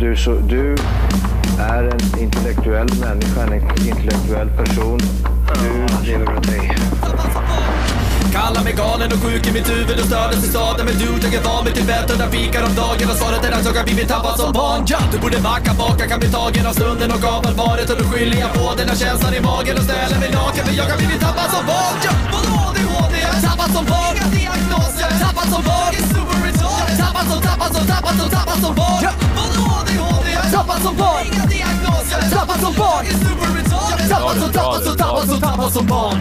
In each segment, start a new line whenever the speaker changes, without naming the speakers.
du, så, du är en intellektuell människa, en intellektuell person. Du lever åt dig.
Kallar mig galen och sjuk i mitt huvud och stördes i staden Men du, jag är van vid Tibet och där fikar om dagen Och svaret är att jag har blivit tappad som barn ja! Du borde backa bak, jag kan bli tagen av stunden och av allvaret Och då skyller jag på den här känslan i magen och ställer mig naken För jag har blivit tappad som barn ja! Vadå ADHD? Jag är tappad som barn Inga diagnoser Jag är tappad som barn Jag är superretard Jag är tappad som, tappad som, tappad som, tappad som barn ja! Vadå ADHD? Jag är tappad som barn Inga diagnoser Jag är tappad som barn Jag är superretard Jag är tappad som, tappad som, tappad som, tappad som barn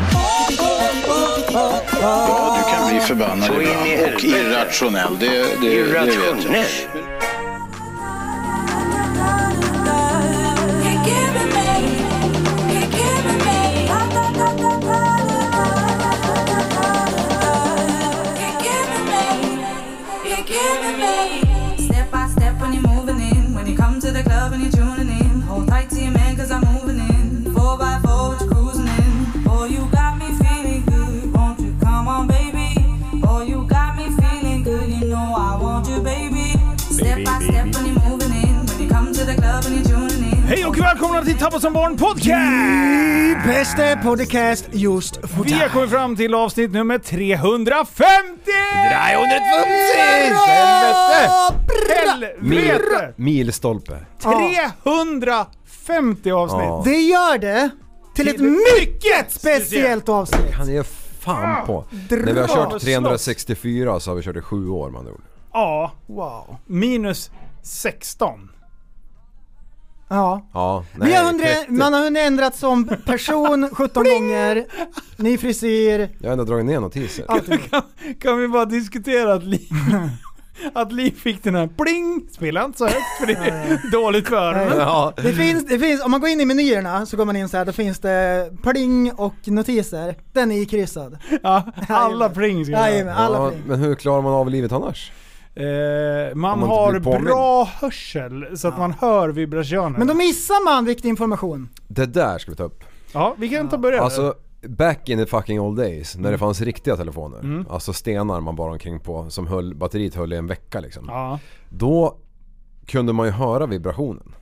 Ja, du kan bli förbannad
Så in i
ibland och
helvete.
irrationell. Det, det, det vet jag.
Step by step when you're moving in. When you come to the club and you're tuning in. Hold tight to your man cause I'm moving in. Four by four, what you cruising in. Boy, you got me feeling good. Won't you come on, baby? Boy, you got me feeling good. You know I want you, baby. Step by step when you're moving in. When you come to the club and you're tuning in.
Hej och välkomna till Tappa som barn podcast!
I bästa podcast just för
Vi har kommit fram till avsnitt nummer 350!
350!
Helvete! Helvete!
Milstolpe.
350 avsnitt!
Det gör det till ett mycket speciellt avsnitt.
Han är fan på. När vi har
och
kört
slåss.
364 så har vi kört i sju år man ord.
Ja,
Wow.
minus 16.
Ja.
Ja, nej,
Vi har hundra,
30.
man har hunnit ändrat som person 17 gånger, ny
Mm.
frisyr.
Jag har ändå dragit ner notiser.
Kan vi bara diskutera att Li, att Li fick den här pling! Spela inte så högt för det är dåligt för öronen.
Ja.
Det finns, det finns, om man går in i menyerna så går man in så här, då finns det pling och notiser. Den är ikryssad.
Ja, alla pling ska
Jajamän,
jag
alla
Ja,
pling.
men hur klarar man av livet annars?
säga. eh, Man
Om man inte
har
blir påmind.
bra hörsel så att man hör vibrationerna.
Men då missar man viktig information.
Det där ska vi ta upp.
Ja, vi kan ta och börja där.
Alltså, back in the fucking old days, när det fanns riktiga telefoner.
Mm.
Alltså stenar man bara omkring på, som höll, batteriet höll i en vecka liksom.
Ja.
Då kunde man ju höra vibrationen.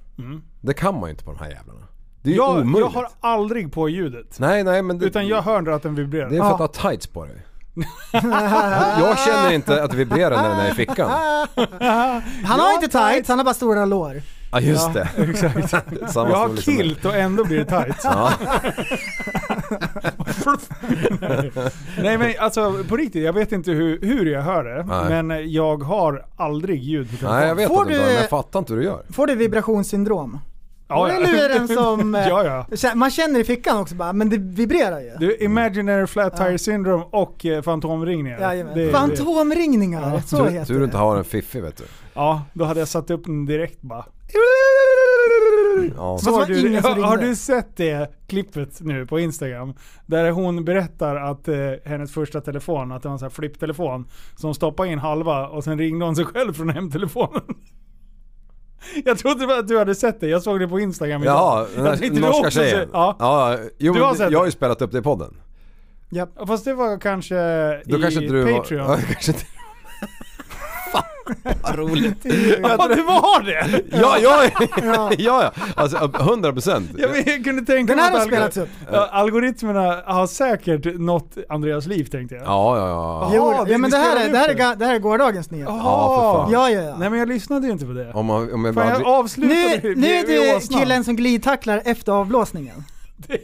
Det kan man ju inte på de här jävlarna. Det är ju
Mm. Jag,
omöjligt.
jag har aldrig på ljudet.
Nej, nej men det,
Utan jag hör att den vibrerar.
det är för att du har tights på dig. jag känner inte att det vibrerar när den är i fickan.
Han har inte tights, han har bara stora lår.
Ja just det. Exakt. Samma
jag har
storlek som-
kilt och ändå blir det tight.
Ja.
Nej men alltså på riktigt, jag vet inte hur, hur jag hör det.
Nej.
Men jag har aldrig ljud på telefonen.
Nej jag vet
Får
att du
du-
inte har, men jag fattar inte hur du gör.
Får du vibrationssyndrom?
Ja,
det
ja.
är luren som... eh,
ja, ja.
kä- Man känner i fickan också bara, men det vibrerar ju.
Du, imaginary flat tire syndrome och eh, fantomringningar.
Jajamän.
Det- det-
Fantomringningar, så
Tur,
heter
tur du
det.
inte har en fiffig vet du.
Ja, då hade jag satt upp den direkt bara.
Ja.
Fast det
Har
var
du,
ingen som
har, har
ringde.
du sett det klippet nu på Instagram? Där hon berättar att eh, hennes första telefon, att det var en sån här flipptelefon som stoppade in halva och sen ringde hon sig själv från hemtelefonen. Jag trodde bara att du hade sett det, jag såg det på Instagram idag.
Ja, den
Jag tänkte
där
du
norska
också se-
tjejen.
Ja.
Ja, jo,
Du
men
har sett
jag har
det.
ju spelat upp det i podden.
Japp.
Ja, Fast det var kanske
Då
i
kanske inte du
Patreon.
Har, ja, kanske inte... Fan, vad roligt.
Ja, det var det!
Ja, ja, ja, ja. Alltså 100 procent.
Jag, men, jag kunde tänka
Den
mig
här har
att algor-
spelats upp.
Ja, algoritmerna har säkert nått Andreas liv tänkte jag.
Ja, ja, ja.
Jo,
Jaha,
ja,
vi
men det här,
spelade
är,
upp
det, här är,
det.
ga- det här är gårdagens nyhet.
Ja, för fan.
Ja, ja, ja.
Nej men jag lyssnade ju inte på det.
Om man, om jag
Fan, jag
aldrig-
avslutade
nu,
i-
nu är
i
du
åsnan.
killen som glidtacklar efter avblåsningen. Det,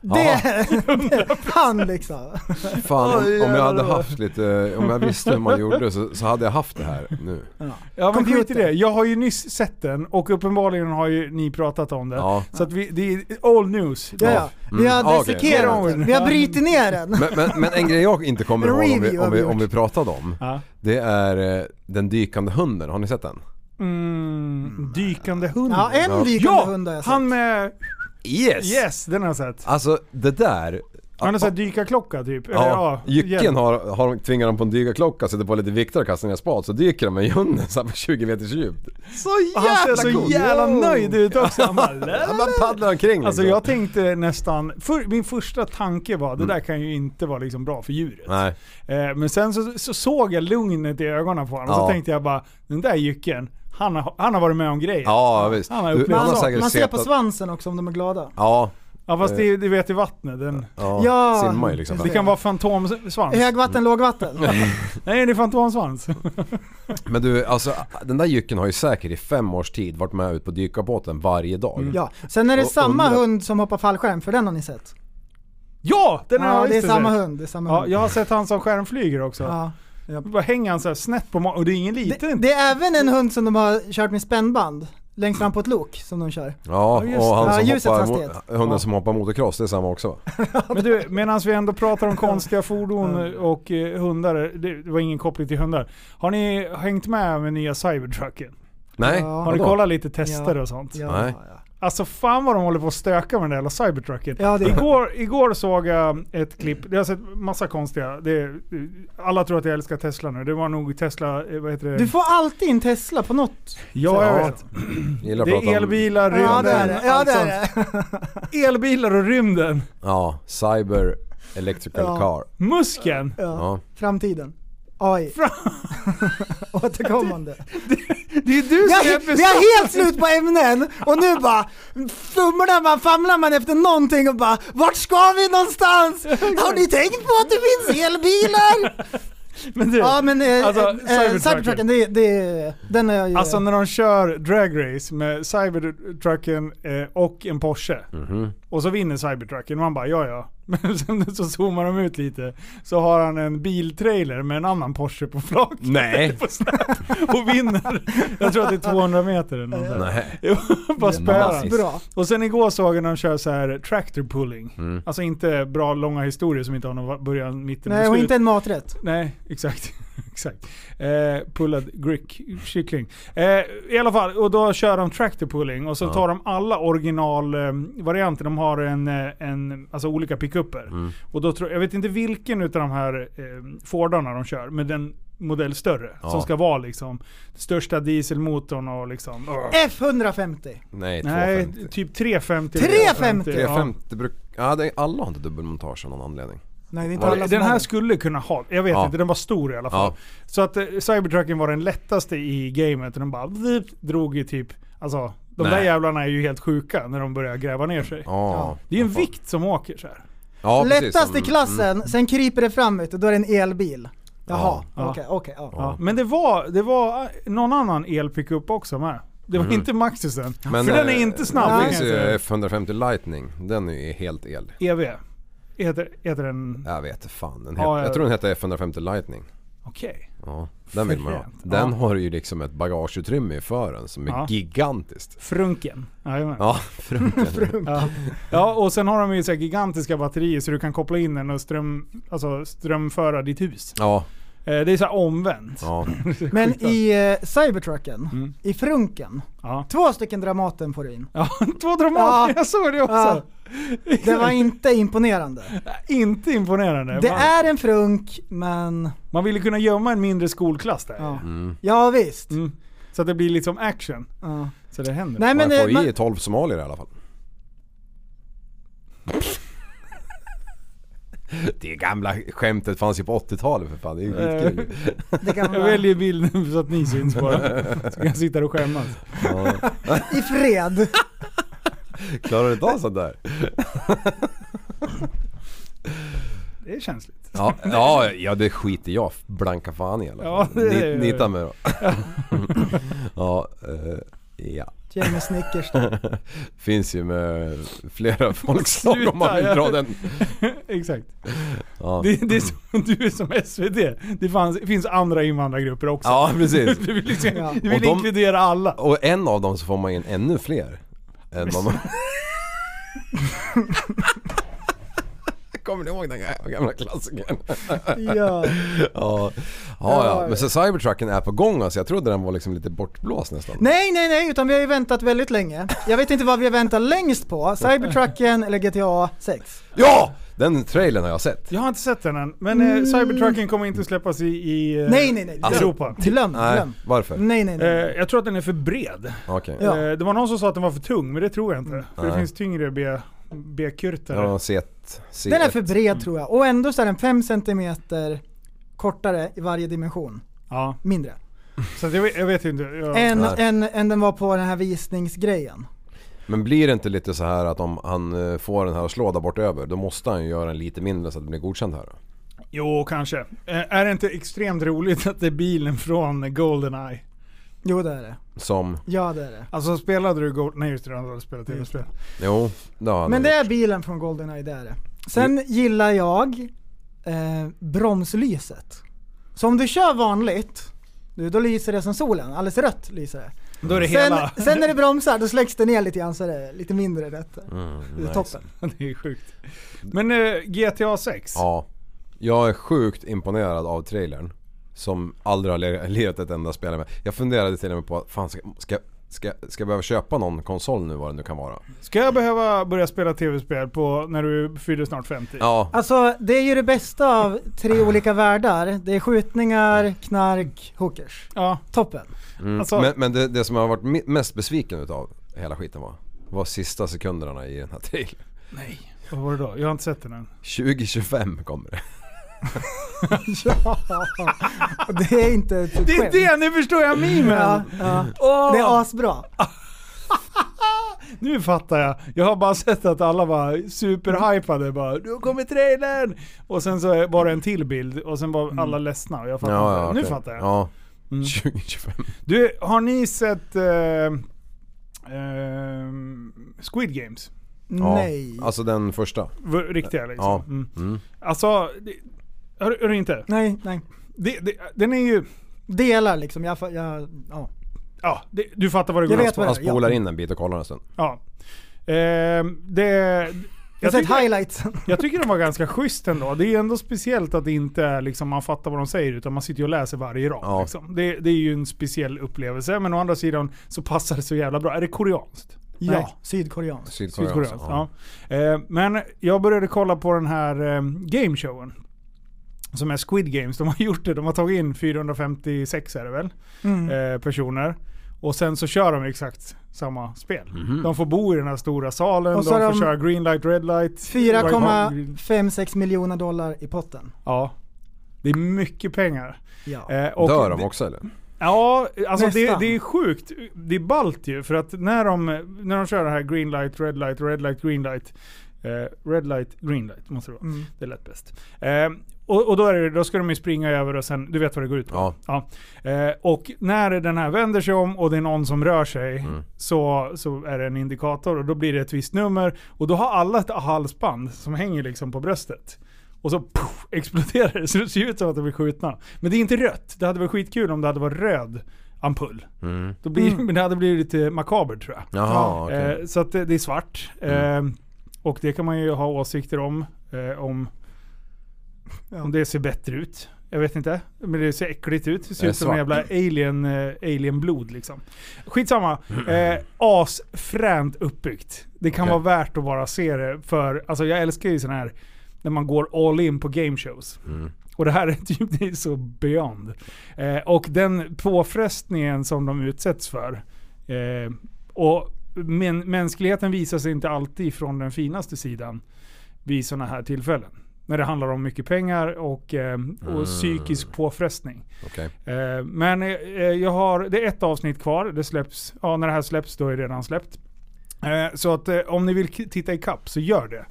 Ja.
det han liksom.
Fan, om,
Oj,
om jag hade
jävlar.
haft lite, om jag visste hur man gjorde så, så hade jag haft det här nu.
Ja men skit i
Computer.
det. Jag har ju nyss sett den och uppenbarligen har ju ni pratat om det.
Ja.
Så att vi, det är all news.
Ja, ja. Vi har
Mm, ah, okej.
dissekerat
Get on.
den. Vi har brutit ner den.
Men, men, men en grej jag inte kommer ihåg om vi,
Review har
om
vi
vi,
gjort.
om vi pratade om,
Ja.
det är eh, den dykande hunden, har ni sett den?
Mm, dykande hund.
Ja, en dykande
Ja,
hund har jag sett.
han med...
Yes!
Yes, den har jag sett.
Alltså det där,
Han har sett dykarklocka typ. Eller,
ja, jycken
hjälm.
har, har tvingar dem på en dykarklocka, sätter på lite vikter och kastar ner spat så dyker de med hunden så här på 20 meters djupt. Så
Och Han ser så jävla nöjd ut också. Han bara,
Han bara paddlar omkring
Alltså
liksom.
jag tänkte nästan, för, min första tanke var det där kan ju inte vara liksom bra för djuret.
Nej.
Eh, men sen så, så såg jag lugnet i ögonen på honom och
Ja.
så tänkte jag bara, den där jycken, Han har, han har varit med om grejer.
Ja visst.
Han har
Du-
upplevt
har
saker.
säkert
Man ser på
setat-
svansen också om de är glada.
Ja,
Ja fast det, det vet i vattnet. Den,
ja,
eh. Ja.
simmar ju liksom.
det kan vara fantomsvans.
Högvatten, lågvatten.
Mm.
Nej det är fantomsvans.
Men du, alltså den där jycken har ju säkert i fem års tid varit med ut på dykarbåten varje dag.
Mm. Ja. Sen är det
Och
samma
undrar-
hund som hoppar fallskärm, för den har ni sett?
ja! Den har
Ja,
jag
det är
visst
samma
sett.
hund. Det är samma
Ja,
hund.
jag har sett han som skärmflyger också.
Ja.
Bara hänger han så här snett på magen. Och det är ingen liten.
Det, det är även en hund som de har kört med spännband längst fram på ett lok som de kör.
Ja,
Ja,
just
och
det. Ja,
han
ljusets
som hoppar,
hastighet.
mo- hunden som hoppar motocross, det är samma också va?
Men du, medan vi ändå pratar om konstiga fordon och eh, hundar. Det, det var ingen koppling till hundar. Har ni hängt med med nya Cybertrucken?
Nej?
Ja.
Har ni
vadå?
kollat lite tester och sånt?
Ja,
Nej.
ja.
Alltså fan vad de håller på att stöka med den där jävla cybertrucken.
Ja, det är-
igår, igår såg jag ett klipp, jag har sett massa konstiga, det, alla tror att jag älskar Tesla nu, det var nog Tesla, eh, vad heter det?
Du får alltid in Tesla på något.
ja, jag
Ja.
vet.
Gillar att
Det
prata
är
om-
elbilar, rymden,
Ja det är det. Ja,
allt
det, är
sånt.
det.
Elbilar och rymden.
Ja, cyber electrical
Ja.
car.
Muskeln!
Ja.
Ja.
Framtiden. AI. Återkommande.
Det är du
Vi
som
har,
hjälper
vi har helt slut på ämnen och nu bara fumlar man, famlar man efter någonting och bara vart ska vi någonstans? Har ni tänkt på att det finns elbilar?
Men du,
Ja men eh,
Alltså,
eh,
Cybertrucken.
eh, Cybertrucken, det, det, den är jag ju...
alltså när de kör dragrace med cybertrucken eh, och en Porsche. Och så vinner cybertrucken och man bara ja ja. Men sen så zoomar de ut lite. Så har han en biltrailer med en annan Porsche på flak.
Nej!
på Snap och vinner. Jag tror att det är 200 meter eller något där.
Nej.
Jo, Bara spöar
Nice.
Bra.
Och sen igår såg jag när de kör så här tractor pulling. Alltså inte bra långa historier som inte har någon va- början, mitten
Nej och
slut.
inte en maträtt.
Nej, exakt. exakt. Eh, pullad grick, kyckling. Eh, I alla fall, och då kör de tractor pulling och så tar de alla originalvarianter. Eh, varianter. de har en, eh, en, alltså olika pickuper. Och då tror, jag vet inte vilken utav de här eh, Fordarna de kör, men den modell större.
Ja.
Som ska vara liksom största dieselmotorn och liksom...
F150.
Nej,
Nej,
250.
typ 350.
350.
350 bruk... Ja, det är, alla har inte dubbelmontage av någon anledning.
Nej det är inte
Ja.
alla som
Den
har
här
den.
skulle kunna ha, jag vet
Ja.
inte, den var stor i alla fall.
Ja.
Så att eh, Cybertrucken var den lättaste i gamet och den bara vip, drog ju typ, alltså de
Nej.
där jävlarna är ju helt sjuka när de börjar gräva ner sig.
Ja.
Det är ju en vikt som åker så här.
Ja, precis, Mm.
Lättast i
Mm.
som-
klassen, sen kryper det fram vet du, då är det en elbil. Jaha,
Ja.
okej, okej. ja.
Ja. Men det var, det var eh, någon annan elpickup också med. Det var inte Maxusen.
Mhm. Men,
För den är
eh,
inte snabb.
Det
det
finns
kan jag
ju eh,
säga.
F150 Lightning, den är ju helt el.
EV. E Heter, heter den...
Jag vet fan, den
Ja,
heter,
jag-
jag tror den heter F150 Lightning.
Okej.
Ja, den vill man ha.
Fränt.
Den
Ja.
har ju liksom ett bagageutrymme i fören som är
Ja.
gigantiskt.
Frunken. Jajamän.
Ja, frunken.
Ja. ja, och sen har de ju så här gigantiska batterier så du kan koppla in den och ström, alltså strömföra ditt hus.
ja,
Eh, Det är så här omvänt.
ja.
Men i eh, Cybertrucken,
Mm.
i Frunken,
Ja.
två stycken Dramaten får du in.
Ja, två Dramaten,
Ja.
jag såg det också.
Det var inte imponerande.
Inte imponerande.
Det
man,
är en Frunk, men
man ville kunna gömma en mindre skolklass där.
ja,
Mm.
ja visst.
Mm. Så att det blir liksom action.
Ja.
Så det händer.
Nej men...
Man
eh,
får
Man,
i 12 somalier i alla fall. Det gamla skämtet fanns ju på 80-talet för fan, det är ju skitkul.
det
Eh,
kan
Jag
vara.
väljer bilden så att ni syns bara. Så kan jag sitta och skämmas.
Ja.
I fred.
Klarar du inte av sånt där?
Det är känsligt.
Ja, ja, ja det skiter jag blanka fan i eller?
Ja, det är-
Nita mig då. ja, eh, ja.
Jamie Snickers där.
Finns ju med flera folkslag om man vill
Sluta,
dra
jag-
den.
Exakt.
Ja,
Det, det är som, du är som SVT. Det fanns, finns andra invandrargrupper också.
ja precis.
Du vill, liksom,
Ja.
du vill
Och de-
inkludera alla.
Och en av dem så får man in ännu fler. Än vad man... Kommer ni ihåg den gamla- gamla klassikern?
Ja.
ja. ja, ja. Men så cybertrucken är på gång alltså. Jag trodde den var liksom lite bortblåst nästan.
Nej, nej, nej, utan vi har ju väntat väldigt länge. Jag vet inte vad vi har väntat längst på. Cybertrucken eller GTA 6?
Ja! Den trailern har jag sett.
Jag har inte sett den än. Men eh, Cybertrucken kommer inte släppas i, i eh,
Mm. Nej, nej, nej.
Europa.
Alltså-
Glöm,
Nej,
glöm.
varför?
Nej, nej,
Eh,
nej.
jag tror att den är för bred.
Okej.
Ja. Mm.
Eh, det var någon som sa att den var för tung, men det tror jag inte. För det
Nej.
finns tyngre B- B-kurtare.
Jag har sett... sett.
Den är för bred tror jag. Och ändå så är den 5 cm kortare i varje dimension.
Ja.
Mindre.
Så att jag, vet- jag vet ju inte. Jag,
Än,
Nej.
än, än den var på den här visningsgrejen.
Men blir det inte lite så här att om han eh, får den här att slå där bort över då måste han ju göra en lite mindre så att det blir godkänt här. då.
Jo, kanske. Eh, är det inte extremt roligt att det är bilen från Goldeneye?
Jo det är det.
Som,
Ja det är det.
Alltså spelade du Goldeneye? Nej just det, han hade spelat tv-spel.
jo, det har han
Men
nog
det
gjort.
är bilen från Goldeneye, det är det. Sen gillar jag eh, bromslyset. Så om du kör vanligt, du, då lyser det som solen. Alldeles rött lyser det.
Då är det
Sen,
hela.
sen när du bromsar, då släcks det ner lite grann så är det lite mindre rätt.
Mm,
Det är
nice.
toppen.
det är sjukt. Men eh, GTA 6?
Ja. Jag är sjukt imponerad av trailern. Som aldrig har le- lirat ett enda spel med. Jag funderade till och med på att fan ska, ska, ska, ska jag behöva köpa någon konsol nu vad det nu kan vara?
Ska jag behöva börja spela tv-spel på när du fyller snart 50?
Ja,
Alltså det är ju det bästa av tre olika världar. Det är skjutningar, knark, hookers.
Ja,
Toppen.
mm.
alltså-
men, men det, det som jag har varit mi- mest besviken utav hela skiten var, var sista sekunderna i den här trailern.
vad var det då? Jag har inte sett den än.
2025 kommer det.
Ja. Och Det är inte ett
Det är
skämt.
det! Nu förstår jag memen!
Ja, ja. Det är asbra.
Ah. Nu fattar jag. Jag har bara sett att alla var superhypade. Bara, nu kommer trailern! Och sen så var det en till bild och sen var alla ledsna. Och jag fattar inte. Nu
okej.
fattar jag.
Mm. Ja,
Mm.
2025.
Du, har ni sett eh, eh, Squid Games?
Ja.
Nej.
Ah.
Alltså den första.
V- Riktiga liksom.
Ja.
Mm.
Mm.
Alltså, det, har, du- har du inte?
Nej, nej.
Det, det, den är ju...
Delar liksom. Jag, fa- jag, ja.
Ja, det, du fattar vad det
Jag
går ut
vet
på.
vad
Han
det är.
spolar
ja.
in en bit och kollar en stund.
Ja. Ehm, det...
Jag
Jag
har sett
tycker,
highlights.
jag tycker de var ganska schysst ändå. Det är ändå speciellt att det inte är liksom man fattar vad de säger utan man sitter ju och läser varje rad.
Ja.
Liksom. Det, det är ju en speciell upplevelse men å andra sidan så passar det så jävla bra. Är det koreanskt? Nej.
Ja, sydkoreanskt.
Sydkorea.
Sydkoreanskt, ja. Eh, men jag började kolla på den här eh, gameshowen. Som är Squid Games. De har gjort det. De har tagit in 456 är det väl,
Mm.
eh, personer. Och sen så kör de exakt samma spel. De får bo i den här stora salen,
Och
de
så
får
har de-
köra green light, red light. white-
4,56 miljoner dollar i potten.
Ja. Det är mycket pengar.
Ja.
Eh, och
Dör de
det-
också eller?
Ja, alltså det,
Nästan.
det är sjukt. Det är ballt ju. För att när de, när de kör det här green light, red light, red light, green light. Eh, red light, green light måste det vara.
Mm.
Det lät bäst. Eh, och och då, är det, då ska de ju springa över och sen, du vet vad det går ut på.
Ja.
Eh, och när den här vänder sig om och det är någon som rör sig
Mm.
så, så är det en indikator och då blir det ett visst nummer. Och då har alla ett halsband som hänger liksom på bröstet. Och så puff, exploderar det så det ser ut som att de blir skjutna. Men det är inte rött. Det hade varit skitkul om det hade varit röd ampull.
Mm.
Då blir, Men det hade blivit lite makabert tror jag.
Jaha, okej. Mm.
Eh, så att det, det är svart. Eh, och det kan man ju ha åsikter om. Eh, om, om det ser bättre ut. Jag vet inte. Men det ser äckligt ut. Det ser
Det är
ut som en jävla
svart.
alien, eh, alien-blod liksom. Skitsamma. Eh, asfränt uppbyggt. Det kan
Mm. Okej.
vara värt att bara se det för... Alltså jag älskar ju sådana här... När man går all in på game shows.
Mm.
Och det här är typ det är så beyond. Eh, och den påfrestningen som de utsätts för. Eh, och men, mänskligheten visar sig inte alltid från den finaste sidan vid sådana här tillfällen. När det handlar om mycket pengar och, eh, och
Mm.
psykisk påfrestning.
Okej.
Eh, men eh, jag har, det är ett avsnitt kvar. Det släpps, ja, när det här släpps då är det redan släppt. Eh, så att eh, om ni vill k- titta i kapp så gör det.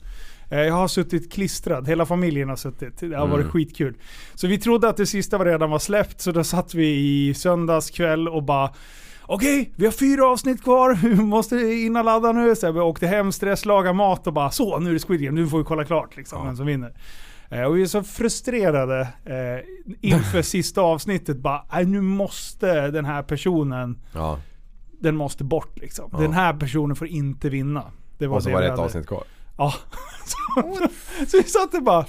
Eh, jag har suttit klistrad, hela familjen har suttit. Det har varit
Mm.
skitkul. Så vi trodde att det sista var redan var släppt så då satt vi i söndags kväll och bara Okej, vi har fyra avsnitt kvar, vi måste hinna ladda nu. Så här, vi åkte hem, stress, laga mat och bara så, nu är det Squid Game, nu får vi kolla klart liksom,
Ja.
vem som vinner. Eh, Och vi är så frustrerade eh, inför sista avsnittet. Bara, "Nej, nu måste den här personen,
Ja.
den måste bort liksom.
Ja.
Den här personen får inte vinna. Det var
Och så
det
var
vi
det ett
hade.
avsnitt kvar.
Ja. så, så vi satt där bara,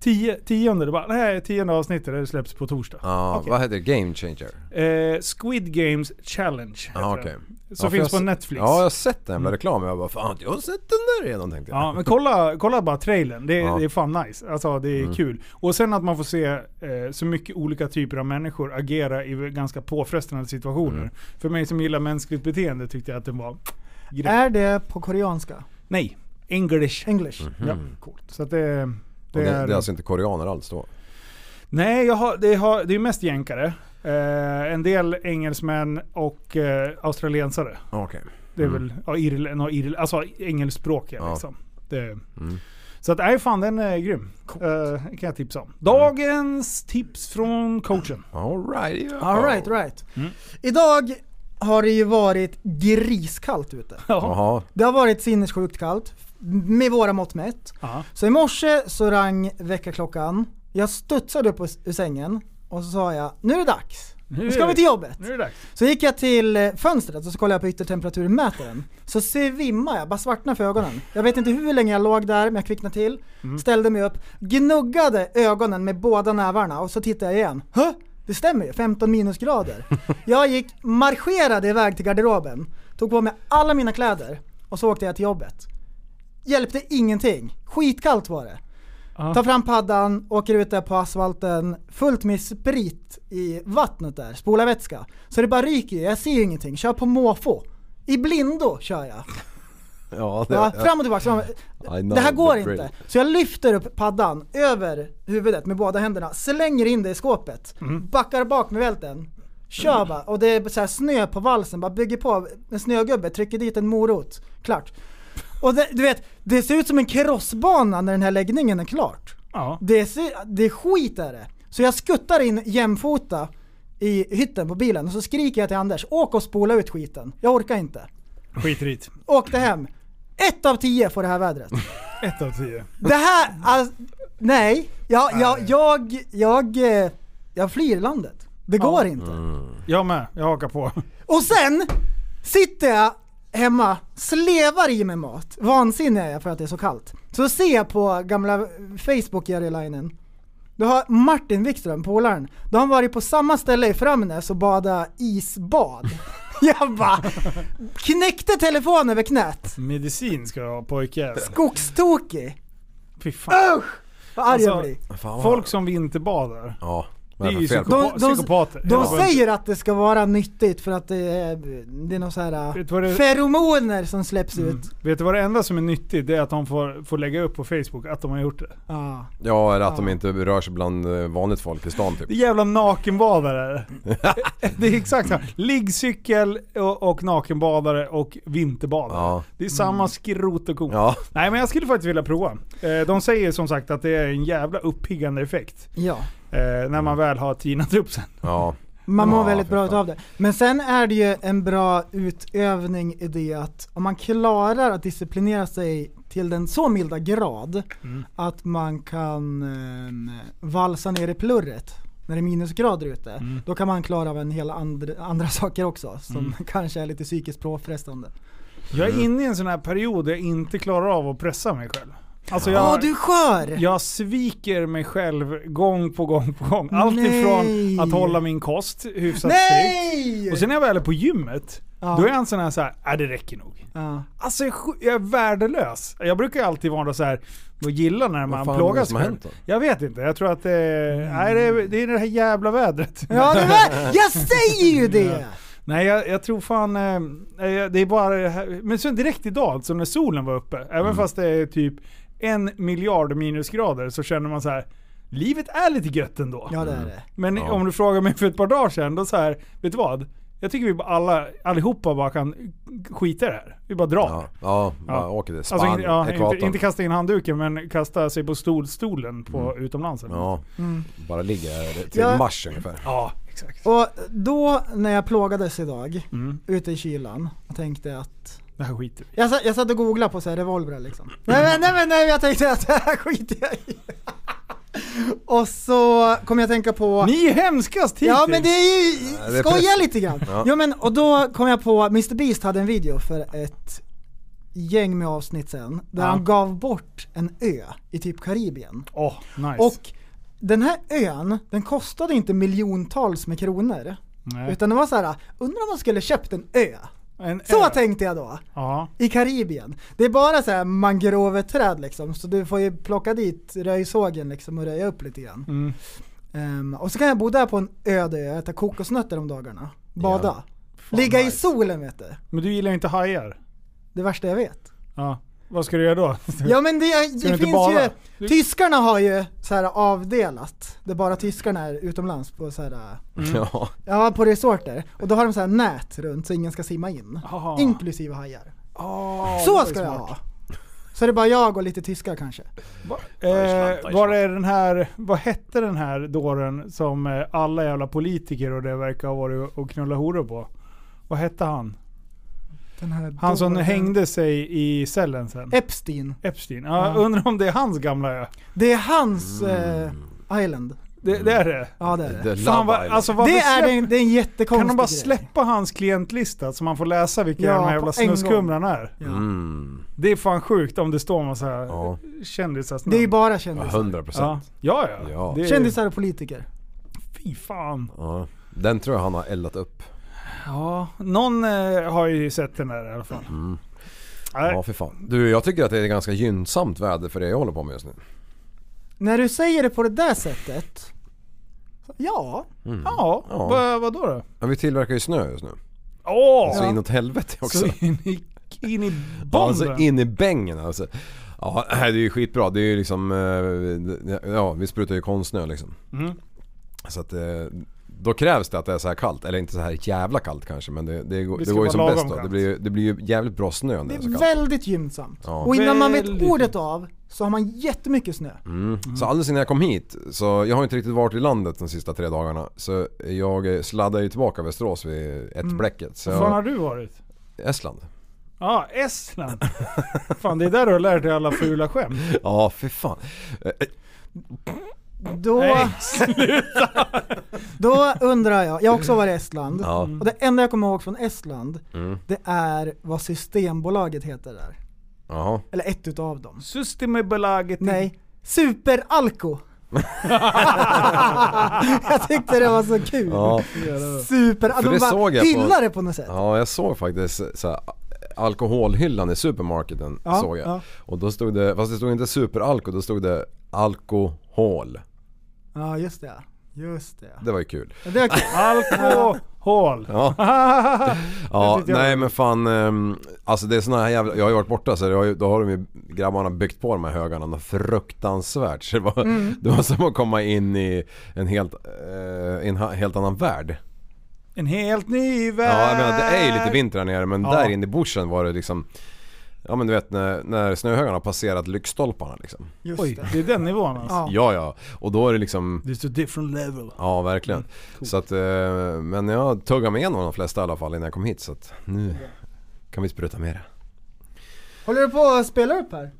tio, tionde, det bara, nej tionde avsnittet, det släpps på torsdag.
Ja,
Okej.
vad heter det? Game Changer?
Eh, Squid Games Challenge heter
Ja, okej.
den.
Ja,
Som
för
finns på
jag se-
Netflix. Mm.
Ja, jag har sett den jävla reklamen. Jag bara fan, jag har sett den där redan tänkte jag.
Ja, men kolla, kolla bara trailern. Det, är-
Ja.
det är fan nice. Alltså det är kul. Och sen att man får se eh, så mycket olika typer av människor agera i ganska påfrestande situationer. För mig som gillar mänskligt beteende tyckte jag att den var... Grej.
Är det på koreanska?
Nej. English.
English?
Ja, coolt. Så att det,
Och
det är...
det, det är alltså inte koreaner alls då?
Nej, jag har, det, har, det är mest jänkare. Eh, en del engelsmän och eh, australiensare.
Okej.
Det är väl ja, Irland och Irland, alltså engelskspråkiga
Mm. Ja. Mm.
liksom. Det, Så att, nej fan den är grym. Eh, kan jag tipsa om. Dagens tips från coachen.
Alright. ja.
Alright, right. Idag har det ju varit griskallt ute.
Jaha.
Det har varit sinnessjukt kallt, med våra mått mätt.
Ja.
Så i morse så rang väckarklockan. Jag studsade upp ur- ur sängen och så sa jag nu är det dags. Nu ska vi till jobbet.
Nu är det dags.
Så gick jag till eh, fönstret och så kollade jag på yttertemperaturmätaren. Så svimmade jag, bara svartnade för ögonen. Jag vet inte hur länge jag låg där, men jag kvicknade till. Ställde mig upp, gnuggade ögonen med båda nävarna och så tittade jag igen. Hö? Det stämmer ju, 15 minusgrader. Jag gick, marscherade iväg till garderoben, tog på mig alla mina kläder och så åkte jag till jobbet. Hjälpte ingenting. Skitkallt var det.
Ja.
Tar fram paddan, åker ut där på asfalten, fullt med sprit i vattnet där, spolarvätska. Så det bara ryker ju, jag ser ju ingenting. Kör på måfå. I blindo kör jag.
Ja, det,
Ja,
ja.
fram och tillbaka. Fram.
I know
Det här går
the drill.
inte. Så jag lyfter upp paddan över huvudet med båda händerna, slänger in det i skåpet, backar bak med välten. Kör bara. Och det är så här snö på valsen, bara bygger på en snögubbe, trycker dit en morot. Klart. Och det, du vet, det ser ut som en krossbana när den här läggningen är klart.
Ja.
Det, ser- det är skit är det. Så jag skuttar in jämfota i hytten på bilen och så skriker jag till Anders, åk och spola ut skiten. Jag orkar inte.
Skit i det.
Åkte hem. Ett av tio får det här vädret.
Ett av tio.
Det här, alltså, nej. Jag, jag, jag, jag, eh, jag flyr landet. Det går inte.
Jag med, jag hakar på.
Och sen sitter jag hemma, slevar i mig mat. Vansinnig är jag för att det är så kallt. Så ser jag på gamla Facebook Jari Då har Martin Wikström, polaren, då har han varit på samma ställe i Framnäs och badat isbad. Jag bara knäckte telefonen över knät.
Medicin ska jag ha pojke.
Skogstokig.
Fy fan.
Vad arg jag
Alltså,
blir.
Fan, vad-
Folk som vinterbadar.
Ja.
Det är
Vad är
ju
det för fel på?
psyko-
De- de-
psykopater.
De
Ja.
säger att det ska vara nyttigt för att det är, det är någon så här
Vet du vad det- Mm.
feromoner som släpps ut.
Vet du vad det enda som är nyttigt? Det är att de får, får lägga upp på Facebook att de har gjort det.
Ja.
Ja, eller att de inte rör sig bland eh, vanligt folk i stan typ.
Det är jävla nakenbadare. det är exakt samma. Liggcykel och, och nakenbadare och vinterbadare.
Ja.
Det är
Mm.
samma skrot och korn.
Ja.
Nej men jag skulle faktiskt vilja prova. Eh, De säger som sagt att det är en jävla uppiggande effekt.
ja.
eh, När
Mm.
man väl har tinat upp sen.
Ja.
Man mår
Ja,
väldigt
för
bra
fan.
utav det. Men sen är det ju en bra utövning i det att om man klarar att disciplinera sig till den så milda grad att man kan eh, valsa ner i plurret när det är minusgrader ute.
Mm.
Då kan man klara av en hel andra, andra saker också som
Mm.
kanske är lite psykiskt påfrestande.
Jag är inne i en sån här period där jag inte klarar av att pressa mig själv. Alltså
Åh,
jag,
du är skör!
jag sviker mig själv gång på gång på gång. Allt
Nej.
ifrån att hålla min kost hyfsat strikt.
Nej!
Och sen när jag väl är på gymmet,
Ja.
då är jag en sån här såhär, äh, det räcker nog.
ja.
Alltså jag är sj- jag är värdelös. Jag brukar ju alltid vara så här och gilla när man
fan är
plågas
det som har
själv.
hänt Mm. då?
Jag vet inte, jag tror att det är, nej, det, är, det är det här jävla vädret.
Ja, det var, jag säger ju det!
Nej jag, jag tror fan, eh, eh, det är bara det här. Men sen direkt idag, alltså när solen var uppe, även
Mm.
fast det är typ en miljard minusgrader så känner man så här. Livet är lite gött ändå.
Ja, det är det.
Men
Ja.
om du frågar mig för ett par dagar sedan, då så här, vet du vad? Jag tycker vi bara alla, allihopa bara kan skita i det här. Vi bara drar.
Ja. Ja. Bara
Ja.
åker till
Alltså,
Spanien,
inte, ja, inte,
ekvatorn.
inte kasta in handduken men kasta sig på stol, stolen på utomlands. eller?
Ja.
Mm.
Bara ligga här till
Ja.
mars ungefär.
ja, exakt.
Och då när jag plågades idag, ute i kylan, och tänkte att...
Det här skiter vi i.
Jag, sa, jag satt och googlade på så här revolver liksom. Nej men, nej men nej, jag tänkte att det här skiter jag i. Och så kom jag att tänka på...
Ni är hemskast hittills!
Ja men det är ju,
det är
skoja
fest.
lite grann.
Ja.
Jo men och då kom jag på, Mr Beast hade en video för ett gäng med avsnitt sen, där
Ja.
han gav bort en ö i typ Karibien.
Åh, nice.
Och den här ön, den kostade inte miljontals med kronor.
Nej.
Utan det var så här, undrar om man skulle köpt en ö?
En
Så
ö.
tänkte jag då.
Ja.
I Karibien. Det är bara så här mangroveträd liksom, så du får ju plocka dit röjsågen liksom och röja upp lite grann.
Mm.
Ehm, och så kan jag bo där på en öde ö, äta kokosnötter om dagarna. Bada.
Fan,
Ligga i
nice.
solen vet du.
Men du gillar ju inte hajar?
Det värsta jag vet.
Ja. Vad ska du göra då?
Ja men det,
Ska du
är- det
inte
finns
bara?
ju, typ- tyskarna har ju så här avdelat, det är bara tyskarna är utomlands på så här,
Mm.
Ja.
ja på resorter. Och då har de så här nät runt så ingen ska simma in.
Aha.
Inklusive hajar.
Ah, det var
så
ju
ska jag
smart.
ha! Så det är bara jag och lite tyskar kanske.
Eh, var är den här, vad hette den här dåren som eh, alla jävla politiker och det verkar ha varit och knulla horor på? Vad hette han? Han som hängde sig i cellen sen?
Epstein.
Epstein. Ja,
Ja.
Undrar om det är hans gamla ö?
Det är hans eh, island.
Det, det är det?
Ja det är
The
det.
Fan,
Love
vad,
Island.
alltså, vad
Det är,
släpp-
en, det är en jättekonstig
Kan de bara
grej.
släppa hans klientlista så man får läsa vilka
Ja,
de här
på
jävla
en gång.
snuskhumrarna är?
Ja.
Mm.
Det är fan sjukt om det står massa
Ja.
kändisar.
Det är ju bara
Ja,
kändisar.
100
ja.
procent.
ja, ja.
Ja.
Det är,
Kändisar och politiker.
Fy fan.
Ja. Den tror jag han har eldat upp.
Ja, någon eh, har ju sett den där i alla fall. Nej.
Mm. Ja, för fan. Du, jag tycker att det är ganska gynnsamt väder för det jag håller på med just nu.
När du säger det på det där sättet. Ja.
Ja,
Ja.
vad vadå då?
Ja, vi tillverkar ju snö just nu.
Åh!
Så inåt helvete också.
Så in i, in i
Ja,
bomben.
alltså in i bängen alltså. Ja, det är ju skitbra. Det är ju liksom, eh, ja vi sprutar ju konstsnö liksom.
Mm.
Så att eh, då krävs det att det är så här kallt. Eller inte så här jävla kallt kanske men det, det, går-
Det
det,
ska
går
vara
ju som
lagom
bäst då.
kallt.
Det blir, ju- det blir ju jävligt bra snö när
Det
det är så
är
kallt.
väldigt gynnsamt.
Ja.
Och innan man vet
Väldigt
ordet av så har man jättemycket snö.
Mm. Så alldeles innan jag kom hit, så jag har inte riktigt varit i landet de sista tre dagarna. Så jag eh, sladdade ju tillbaka Västerås vid ett bläcket. Så
Var Mm. fan har
jag,
du varit?
Estland.
Ja, ah, Estland. fan, det är där du har lärt dig alla fula skämt.
Ja, för fan. Eh, eh,
Då,
Nej.
då undrar jag, jag har också varit i Estland.
Ja.
Mm.
Och det enda jag kommer ihåg från Estland,
Mm.
det är vad Systembolaget heter där.
Jaha.
Eller ett utav dem.
Systembolaget. i-
Nej, Superalko. jag tyckte det var så kul.
Ja.
Super,
För
de
det
bara
såg jag på-
hyllar det på något sätt.
Ja, jag såg faktiskt eh, så här, alkoholhyllan i supermarketen.
Ja,
såg jag.
ja.
Och då stod det, fast det stod inte superalko, då stod det alkohol.
Ja, just det. Just det.
Det var ju kul.
Ja, det var kul.
Alkohol.
Ja, ja
tyckte jag var-
nej men fan. ehm, Alltså det är såna här jävla, jag har ju varit borta så det har ju, då har de ju grabbarna byggt på de här högarna något fruktansvärt. Så det var,
Mm.
det var som att komma in i en helt, eh, en ha- helt annan värld.
En helt ny värld.
Ja jag menar det är ju lite vinter här nere men
Eh. Ja.
där inne i bushen var det liksom Ja men du vet när, när snöhögarna har passerat lyktstolparna liksom.
Just
Oj,
det.
det är den nivån alltså.
Ja.
Ja ja, och då är det liksom
This is a different level.
Ja verkligen.
Mm,
Så att, eh, men jag tuggade mig igenom de flesta i alla fall innan jag kom hit så att nu kan vi spruta med det.
Håller du på att spela upp här?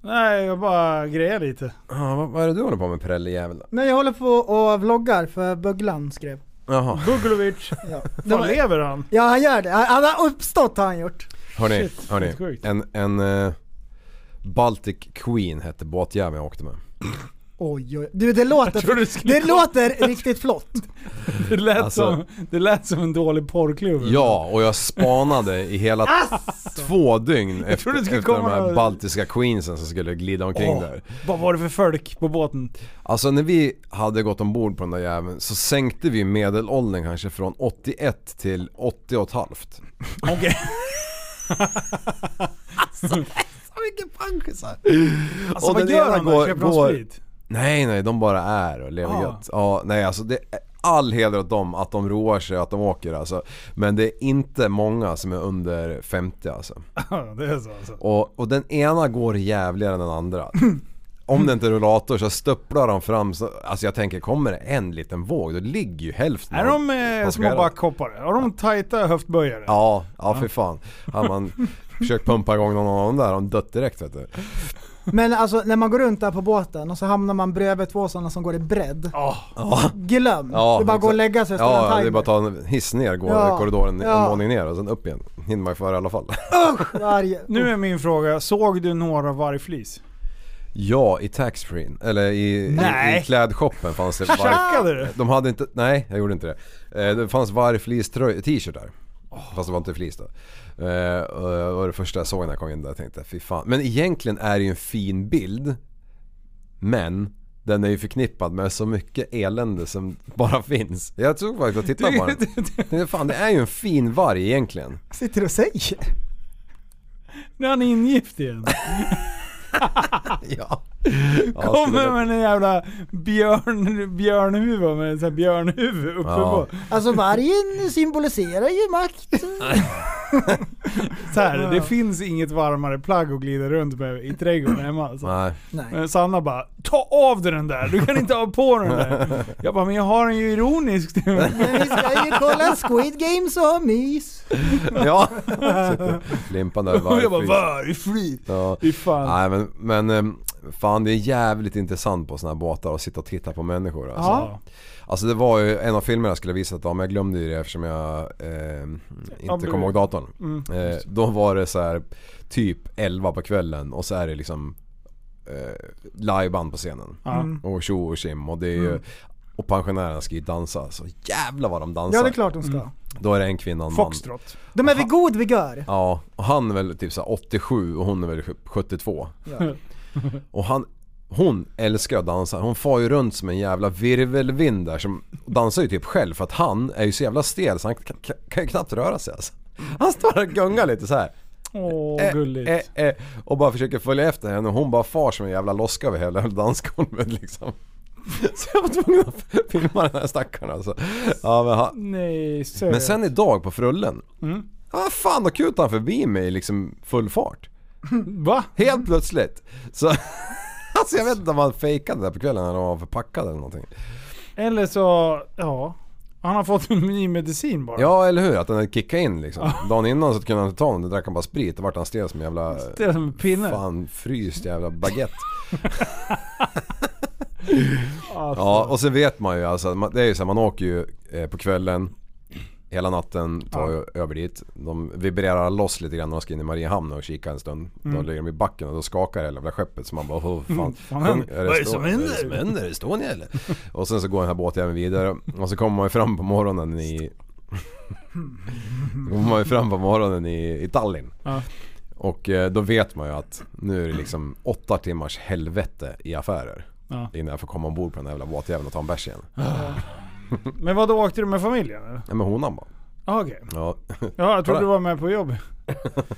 Nej, jag bara grejar lite.
Ja, vad, vad är det du håller på med prellejävel då?
Nej, jag håller på och vloggar för Bugglan skrev.
Jaha,
Bugulovic.
Ja.
Fan, lever han?
ja, han gör det. Han, han har uppstått har han gjort.
hörni,
Shit, helt
hörni.
sjukt.
En, en eh, Baltic Queen hette båtjäveln jag åkte med.
Mm.
Oj, oj. Du, det låter,
trodde du skulle
det
komma-
låter riktigt flott.
Det lät,
Alltså-
som, det lät som en dålig porrklubb.
Ja, och jag spanade i hela två dygn efter,
trodde det skulle
efter de
komma-
här baltiska queensen som skulle glida omkring
Åh,
där.
Vad var det för folk på båten?
Alltså när vi hade gått ombord på den där jäveln så sänkte vi medelåldern kanske från 81 till 80 och ett halvt.
Okej.
Så mycket panschisar!
Alltså
Och
vad
den
gör
ena
han då?
går-
Köper han
går-
sprit?
Nej nej, de bara är och lever
Ah.
gött. Ja, nej alltså det är all heder åt dem att de roar sig och att de åker alltså. Men det är inte många som är under 50 alltså.
Ja, det är så alltså.
Och, och den ena går jävligare än den andra. Om det inte är rullator så stöpplar de fram. Så, alltså jag tänker, kommer det en liten våg då ligger ju hälften
Är
av-
de eh,
av
små
skärran.
backhoppare? Har de tajta höftböjare?
Ja, ja för fan. Hade man försökt pumpa igång någon av dem där, de dött direkt vet du.
Men alltså när man går runt där på båten och så hamnar man bredvid två sådana som går i bredd.
Ja.
Glöm!
Ja,
det är bara att gå och
exakt.
lägga sig och ställa
Ja,
en
det är
timer.
bara att ta en hiss ner, gå
Ja,
korridoren
ja.
en våning ner och sen upp igen. Hinner man ju före i alla fall.
Varje-
Nu är min fråga, såg du några vargflis?
Ja, i taxfree eller i, i,
Nej.
i klädshoppen fanns det
Tjackade du?
De hade inte, nej jag gjorde inte det. Eh, Det fanns vargflis trö- t-shirtar. Fast det var inte flis då. Eh, och Det var det första jag såg när jag kom in där jag tänkte fy fan. Men egentligen är det ju en fin bild. Men den är ju förknippad med så mycket elände som bara finns. Jag tror faktiskt att titta på den. Det, fan, det är ju en fin varg egentligen.
Sitter och säger?
Nu är han ingift igen.
Ja. Ja,
Kommer
skulle-
med en jävla björn, björnhuvud med en sån här björnhuvud uppe
Ja.
på.
Alltså vargen symboliserar ju makt.
Så här, det finns inget varmare plagg att glida runt med i trädgården hemma alltså.
Nej.
Nej.
Men Sanna bara Ta av dig den där, du kan inte ha på den där. Jag bara, men jag har den ju ironiskt.
Men vi ska ju kolla Squid Games och ha mys.
Ja. Sitter Flimpan där
Och jag bara
vargfrisk.
vargfri.
Ja.
Fy fan.
Nej men, men ehm, fan det är jävligt intressant på såna här båtar att sitta och titta på människor alltså.
Ja.
Alltså det var ju en av filmerna jag skulle ha visat om, jag glömde ju det eftersom jag eh,
Ja,
inte kom ihåg datorn.
Mm,
eh, då var det så här typ 11 på kvällen och så är det liksom eh, liveband på scenen.
Ja.
Och tjo och tjim och det är ju, och pensionärerna ska ju dansa. Så jävla vad de dansar.
Mm. Ja det är klart de ska.
Då är det en kvinna och en man.
Foxtrot.
De är vid god vigör.
Ja, och han är väl typ så här 87 och hon är väl 72.
Ja.
Och han, hon älskar att dansa. Hon far ju runt som en jävla virvelvind där som dansar ju typ själv för att han är ju så jävla stel så han kan, kan- kan ju knappt röra sig alltså. Han står och gungar lite så här.
Åh,
Eh,
gulligt.
eh, eh, och bara försöker följa efter henne och hon bara far som en jävla loska över hela dansgolvet liksom. Så jag var tvungen att filma den här stackaren alltså. Ja, men han,
Nej, seriöst.
men sen idag på Frullen. Ja, fan vad kul att han förbi mig i liksom full fart.
Va?
Helt plötsligt. Så, alltså jag vet inte om han fejkade det där på kvällen eller om han var förpackad eller någonting.
Eller så, ja. Han har fått en ny medicin bara.
Ja eller hur, att den hade kickat in liksom. Dagen innan så kunde han inte ta någon, då drack han bara sprit. Då vart han stel som en jävla...
Det är som en pinne.
Fan fryst jävla baguette.
Alltså.
Ja och sen vet man ju alltså, man- det är ju så här, man åker ju eh, på kvällen. Hela natten tar ju över dit. De vibrerar loss lite grann när de ska in i Mariehamn och kika en stund. Då ligger de i backen och då skakar hela jävla skeppet så man bara oh, fan.
Mm. fan
sjung-
händer? Vad är det som
Esto-
händer?
Vad är det som händer? Är det Estonia eller? och sen så går den här båtjäveln vidare och så kommer man ju fram på morgonen i... Då kommer man ju fram på morgonen i, i Tallinn.
Ja.
Och eh, då vet man ju att nu är det liksom åtta timmars helvete i affärer.
Ja.
Innan jag får komma ombord på den här jävla båtjäveln och ta en bärs igen.
Men vad då åkte du med familjen eller?
Nej men honan bara.
Ah, Okej.
Ja.
Ja, jag trodde du var med på jobb.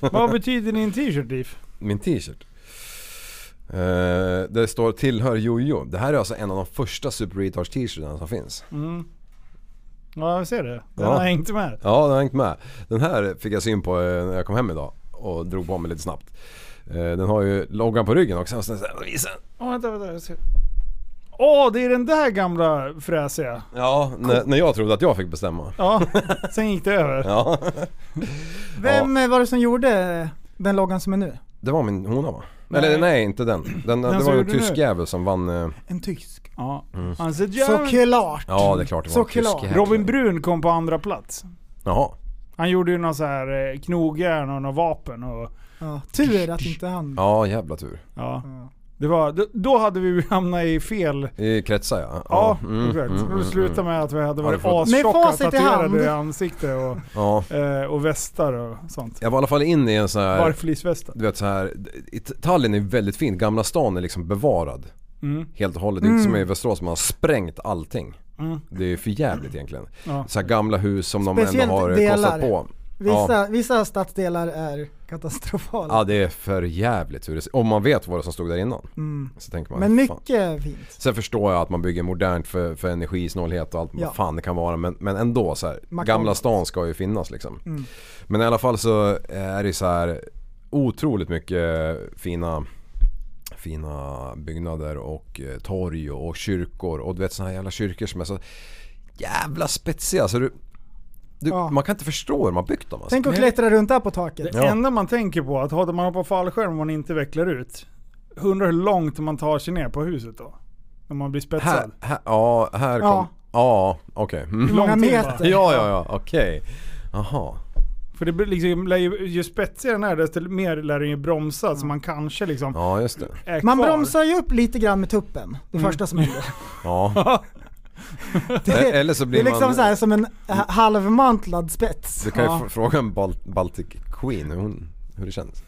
vad betyder din t-shirt Liv?
Min t-shirt. Eh, där det står tillhör Jojo. Det här är alltså en av de första Super Retards t-shirtarna som finns.
Mm. Ja, jag ser det. Den
Ja.
har hängt med.
Ja, den har hängt med. Den här fick jag syn på eh, när jag kom hem idag och drog på mig lite snabbt. Eh, Den har ju loggan på ryggen också. Och sen så här, visa.
Åh, vänta, vänta. Jag ser. Åh, det är den där gamla fräsiga.
Ja, när, när jag trodde att jag fick bestämma.
Ja, sen gick det över.
Ja.
Vem eh, var det som gjorde den loggan som är nu?
Det var min hona va?
Nej.
Eller nej, inte den. den, det
som
var en
gjorde
tysk
nu.
jävel som vann... eh,
En tysk.
Ja. Han ser jävla...
Såklart.
Ja, Mm. det är klart det var en tysk
Såklart.
jävel.
Robin Brun kom på andra plats.
Jaha.
Han gjorde ju någon så här eh, knogjärn och något vapen och...
Ja, tur att inte han...
Ja, jävla tur.
Ja. Det var, då- då hade vi hamnat i fel...
I kretsar ja.
Ja,
mm,
exakt.
mm,
det
mm,
slutade med att vi hade varit
Hade fått-
Med
astjocka
facit i hand.
tatuerade i ansikte och,
ja.
eh, och västar och sånt.
Jag var i alla fall inne i en sån här...
Barflisvästar.
Du vet så här, i Tallinn är väldigt fint. Gamla stan är liksom bevarad.
Mm.
Helt och hållet. Det är Inte som i Västerås, man har sprängt allting.
Mm.
Det är för jävligt egentligen.
Ja.
Så här gamla hus som de
Speciellt
ändå har eh,
delar.
kostat på.
Vissa,
Ja.
vissa stadsdelar är katastrofala.
ja, det är för jävligt hur det ser Om man vet vad det som stod där innan. Så tänker man,
Mm. Men
fan.
mycket fint.
Sen förstår jag att man bygger modernt för, för energisnålhet och allt
Ja.
vad fan det kan vara. Men, men ändå så här,
McDonald's.
gamla stan ska ju finnas liksom.
Mm.
Men i alla fall så är det så här otroligt mycket fina, fina byggnader och eh, torg och kyrkor. Och du vet såna här jävla kyrkor som är så jävla spetsiga. Så du, du,
Ja.
Man kan inte förstå hur de har byggt dem. Alltså.
Tänk att klättra runt där på taket.
Det enda man tänker på är att hade man hoppar fallskärm och man inte vecklar ut, undrar hur långt man tar sig ner på huset då? När man blir spetsad.
här, här, ja, här kom...
Ja.
Ja, ja okej. Mm.
Många
Lång tid bara.
meter.
Ja, ja, ja, okej. Jaha.
För det blir liksom, lär ju, ju spetsigare den är desto mer lär den ju bromsa så man kanske liksom
Ja, just det.
är
Mm. Man
kvar. Mm.
bromsar ju upp lite grann med tuppen. Det första som händer.
Ja. E-
Det-
Eller så
Det
blir
är liksom
man...
så här som en ha- halvmantlad spets.
Du kan ju
Ja.
fr- fråga en Bal- Baltic Queen hur, hon, hur det känns.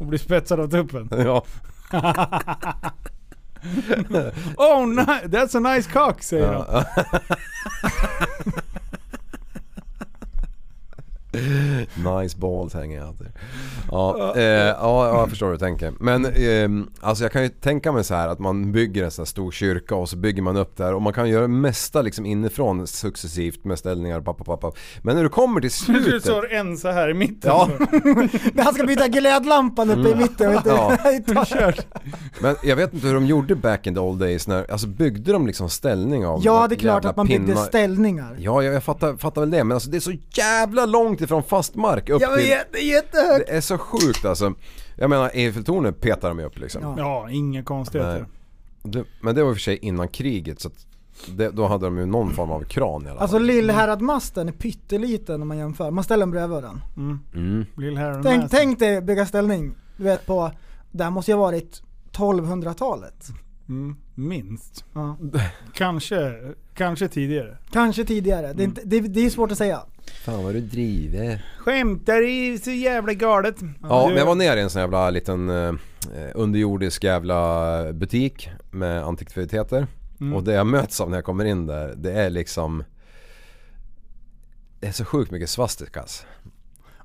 och blir spetsad av tuppen.
Ja.
Oh ni- that's a nice cock säger de.
ja. Nice balls hanging out there. Ja, eh, ja, ja, jag förstår hur du tänker. Men eh, alltså jag kan ju tänka mig så här att man bygger en sån här stor kyrka och så bygger man upp där och man kan göra det mesta liksom inifrån successivt med ställningar pappa pappa. Men när du kommer till
Du
slutet.
står en så här i mitten.
Ja,
Han ska byta glödlampan uppe i mitten. Vet du?
Mm. Ja.
Ja.
men jag vet inte hur de gjorde back in the old days. När, alltså byggde de liksom ställning av
ja, det är klart
jävla
att man byggde
pinnar?
ställningar.
Ja, jag, jag fattar, fattar väl det. Men alltså det är så jävla långt ifrån fast mark upp
Jag
till...
vet, det är jättehögt.
Det är så sjukt alltså. Jag menar Eiffeltornet petar de ju upp liksom.
Ja.
Ja, inga
Nej.
konstigheter.
Det, men det var i och för sig innan kriget så att det, då hade de ju någon form av kran i alla fall.
Alltså Lillhäradmasten är pytteliten om man jämför. Man ställer den bredvid den.
Lill Harry
Tänk,
Master.
tänk dig bygga ställning. Du vet på, det här måste ju ha varit 1200-talet.
Mm, minst.
Ja.
Kanske, kanske tidigare.
Kanske tidigare.
Mm.
Det, är inte- det, det är svårt att säga.
Fan vad du driver.
Skämtar i så jävla galet.
Ja, men jag var nere i en sån jävla liten eh, underjordisk jävla butik med antikviteter. Och det jag möts av när jag kommer in där, det är liksom... Det är så sjukt mycket svastikas.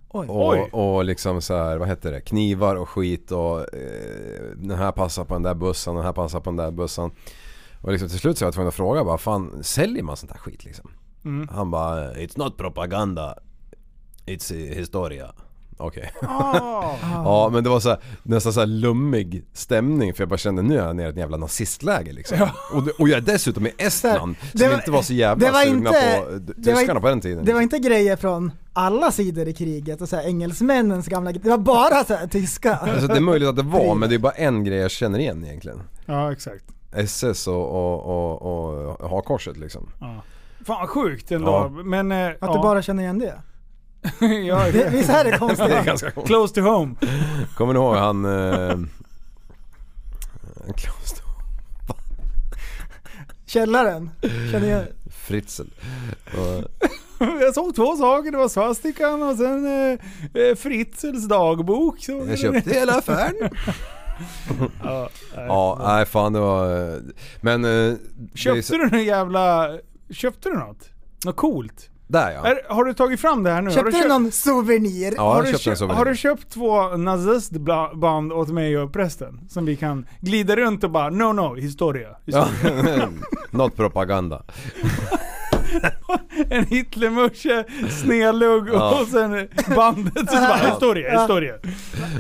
Oj.
Och,
Oj.
och liksom så här, vad heter det, knivar och skit och eh, den här passar på den där bussen, den här passar på den där bussen. Och liksom till slut så var jag tvungen att fråga bara, fan säljer man sånt här skit liksom? Han bara, it's not propaganda, it's eh, historia. Okej.
Ah.
ja men det var så här, nästan så här lummig stämning för jag bara kände nu är jag nere i ett jävla nazistläger liksom. Och, det, och jag är dessutom i Estland
det
som
var-
inte var så jävla
det var
sugna
inte-
på eh, d-
det var
tyskarna
inte-
på den tiden.
Det var inte grejer från alla sidor i kriget, och så här, engelsmännens gamla Det var bara så här, tyska.
Alltså det är möjligt att det var men det är bara en grej jag känner igen egentligen.
Ja, exakt.
SS och, och, och, och hakorset liksom.
Ja. Fan vad sjukt ändå.
Ja.
Men, eh,
Att
ja.
du bara känner igen det.
ja,
det visst här är det konstigt?
Det är ganska coolt.
Close to home.
Kommer ni ihåg han... Eh, Klaus
Källaren. Känner igen.
Fritzl. Och,
Jag såg två saker. Det var svastikan och sen eh, eh, Fritzels dagbok. Så
jag köpte hela affären.
Ja, nej.
Ja, nej fan det var... eh, Men... eh, det är
Köpte
så-
du någon jävla... Köpte du något? Något coolt?
Där ja.
Är, har du tagit fram det här nu? har
Köpte du
köpt-
någon souvenir?
Ja,
har,
jag
du
köpte en
köpt,
souvenir.
har du köpt två nazistband åt mig och prästen? Som vi kan glida runt och bara no no, historia.
Ja.
historia.
Not propaganda.
En Hitlermusche, snedlugg
Ja.
och sen bandet. Så bara, historia, historia.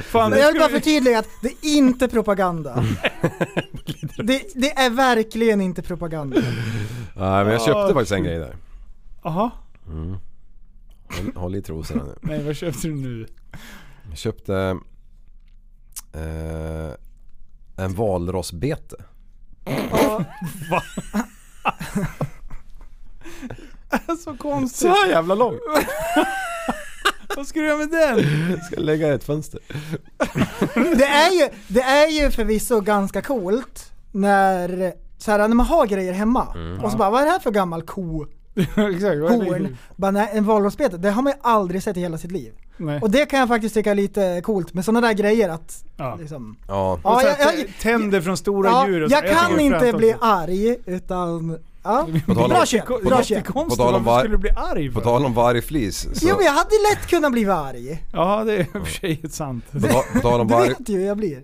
Fan,
Men jag vill
det
bara
skulle-
förtydliga att det är inte propaganda.
Mm.
Det, det är verkligen inte propaganda.
Nej Eh, men jag
Ja.
köpte faktiskt en grej där. Mm.
Jaha.
Håll- Håll i trosorna nu.
Nej vad köpte du nu?
Jag köpte... Eh, en valrossbete.
Så konstigt.
jävla lång.
Vad ska du göra med den?
Ska lägga i ett fönster.
Det är ju, det är ju förvisso ganska coolt när, så här, när man har grejer hemma
Mm.
och så bara vad är det här för gammal ko?
Exakt, vad är det?
Horn? Bara, nej, en valrossbete, det har man ju aldrig sett i hela sitt liv.
Nej.
Och det kan jag faktiskt tycka är lite coolt med sådana där grejer att
Ja.
liksom,
Ja.
ja,
Så
jag,
här,
jag,
tänder från stora
ja,
djur och så.
jag
tycker
kan
det är
inte
fränt
bli
också.
arg utan, ja.
tal om-
Bra köp,
Ko-
bra köp.
På
Jättekonstigt
tal om
varför
var-
skulle du bli arg
På
för?
tal om vargflis. Så,
Jo men jag hade lätt kunnat bli arg.
Ja det är i och för sig ett sant.
på, ta, på tal om
Du
varg...
vet ju hur jag blir.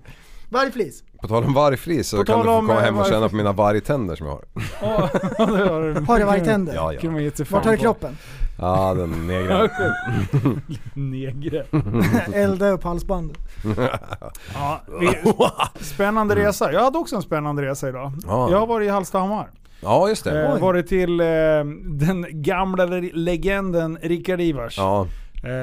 Vargflis.
På tal om vargflis så
På
kan
tal
du få
om,
komma
eh,
hem och känna
vargflis.
på mina vargtänder som jag har.
Ja, det har du.
Har det varit tänder?
Ja,
Kunde
ja.
man gett sig Mm. fan
Vart har du
på.
kroppen?
Ja, den negran.
Negre.
Elda upp halsbandet.
Ja, vi, spännande resa. Jag hade också en spännande resa idag.
Ja.
Jag har varit i Hallstahammar.
Ja, just
Eh,
det.
varit till eh, den gamla le- legenden Rickard Ivars.
Ja,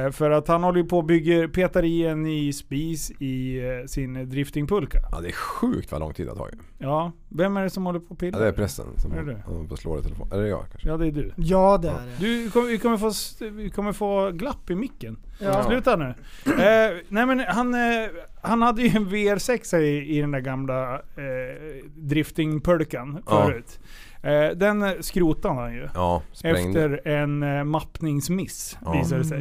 Eh, för att han håller ju på och bygger, petar i en ny spis i eh, sin driftingpulka.
ja det är sjukt vad lång tid det har tagit.
Ja, vem är det som håller på och
Ja,
pillar?
det är prästen som
Är det?
håller på och slår i telefon. Eller jag kanske.
Ja, det är du.
Ja det är det.
Du kommer, vi, kommer få, s- vi kommer få glapp i micken.
Ja.
Sluta nu. Eh, nej men han, eh, han hade ju en VR6 i, i den där gamla eh, driftingpulkan
Ja.
förut. Eh, den skrotade han ju.
Ja, sprängde.
Efter en eh, mappningsmiss
Ja.
visade det sig.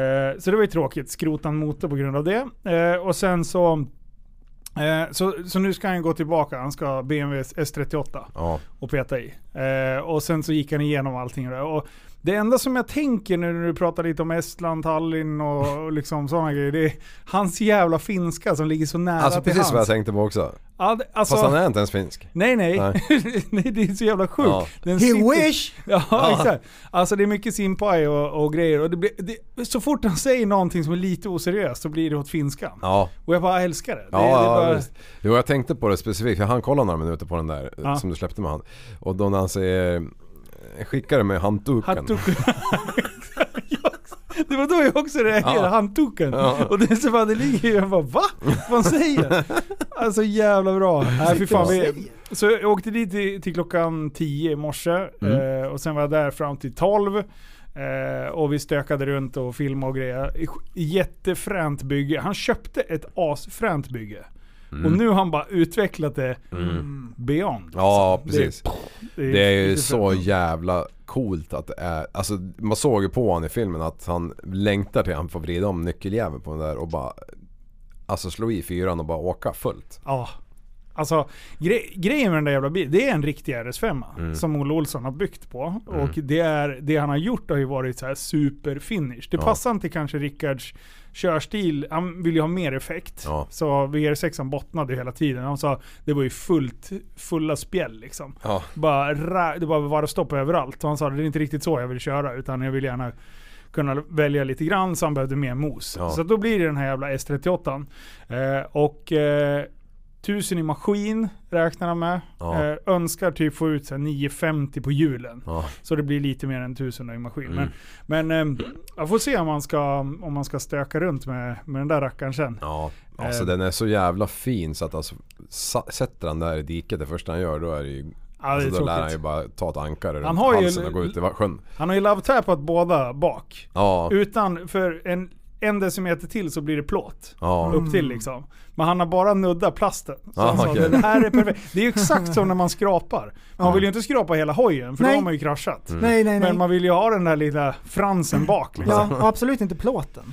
Eh, så det var ju tråkigt. Skrotade han motor på grund av det. Eh, och sen så, eh, så... Så nu ska han gå tillbaka. Han ska ha BMW S38
Ja,
och peta i. Eh, och sen så gick han igenom allting. Och det- Och det enda som jag tänker nu när du pratar lite om Estland, Tallinn och, och liksom sådana grejer. Det är hans jävla finska som ligger så nära
Alltså
till
precis vad jag
hans.
tänkte på också.
Ja, det- alltså,
Fast han är inte ens finsk.
Nej nej.
Nej.
nej, det är så jävla sjukt.
Ja.
Den
He
sitter-
wish!
Ja, exakt. Alltså det är mycket simpaj och, och grejer. Och det blir, det, så fort han säger någonting som är lite oseriöst så blir det åt finskan.
Ja.
Och jag bara älskar det. det,
Ja,
det är
ja
bara,
visst. Jo, jag tänkte på det specifikt. Jag hann kolla några minuter på den där eh,
Ja.
som du släppte med han. Och då när han säger eh, Skicka det med handduken.
Hantuken. det var då jag också reagerade,
Ja.
handtuken.
Ja.
Och det, är så bara, det ligger ju, jag bara va? Vad han säger? Alltså jävla bra. Nej, fy fan, vi, så jag åkte dit till, till klockan 10 i morse
Mm.
eh, och sen var jag där fram till 12. Eh, och vi stökade runt och filmade och grejer. Jättefränt bygge. Han köpte ett asfränt bygge. Och nu har han bara utvecklat det beyond.
Mm. Ja,
Alltså,
precis.
det,
Det är ju
riktigt
så jävla coolt att det är, alltså man såg ju på honom i filmen att han längtar till att han får vrida om nyckeljäveln på den där och bara Alltså slå i fyran och bara åka fullt.
Ja. Alltså gre- grejen med den där jävla bilen, det är en riktig RS5
Mm.
som Olle Olsson har byggt på. Och det, är, det han har gjort har ju varit så här superfinish. Det
Ja.
passar inte kanske Rickards körstil, han vill ju ha mer effekt.
Ja.
Så VR6 bottnade ju hela tiden. Han sa det var ju fullt, fulla spjäll liksom.
Ja.
Bara, ra- det bara var stopp överallt. Och han sa det är inte riktigt så jag vill köra utan jag vill gärna kunna välja lite grann så han behövde mer mos.
Ja.
Så då blir det den här jävla S38. Eh, och eh, 1000 i maskin räknar han med.
Ja.
Eh, önskar typ få ut så här 950 på hjulen.
Ja.
Så det blir lite mer än 1000 i maskin.
Mm.
Men, men eh, jag får se om man ska, om man ska stöka runt med, med den där rackaren sen.
Ja. Alltså
Eh.
den är så jävla fin så att alltså sa- sätter han där i diket det första han gör då är det ju
Ja, det är
alltså, då lär han
tråkigt.
ju bara ta ett ankare runt
Han har ju-
halsen och gå ut i va- sjön.
Han har ju love-tappat båda bak.
Ja.
Utan för en, en decimeter till så blir det plåt.
Ja.
Upp till liksom. Men han har bara nuddat plasten. Så
Mm. Ah,
han sa,
okej.
den här är perfekt. Det är ju exakt som när man skrapar. Man vill ju inte skrapa hela hojen för då
Nej.
har man ju kraschat.
Mm.
Nej, nej, nej.
Men man vill ju ha den där lilla fransen bak liksom.
Ja, och absolut inte plåten.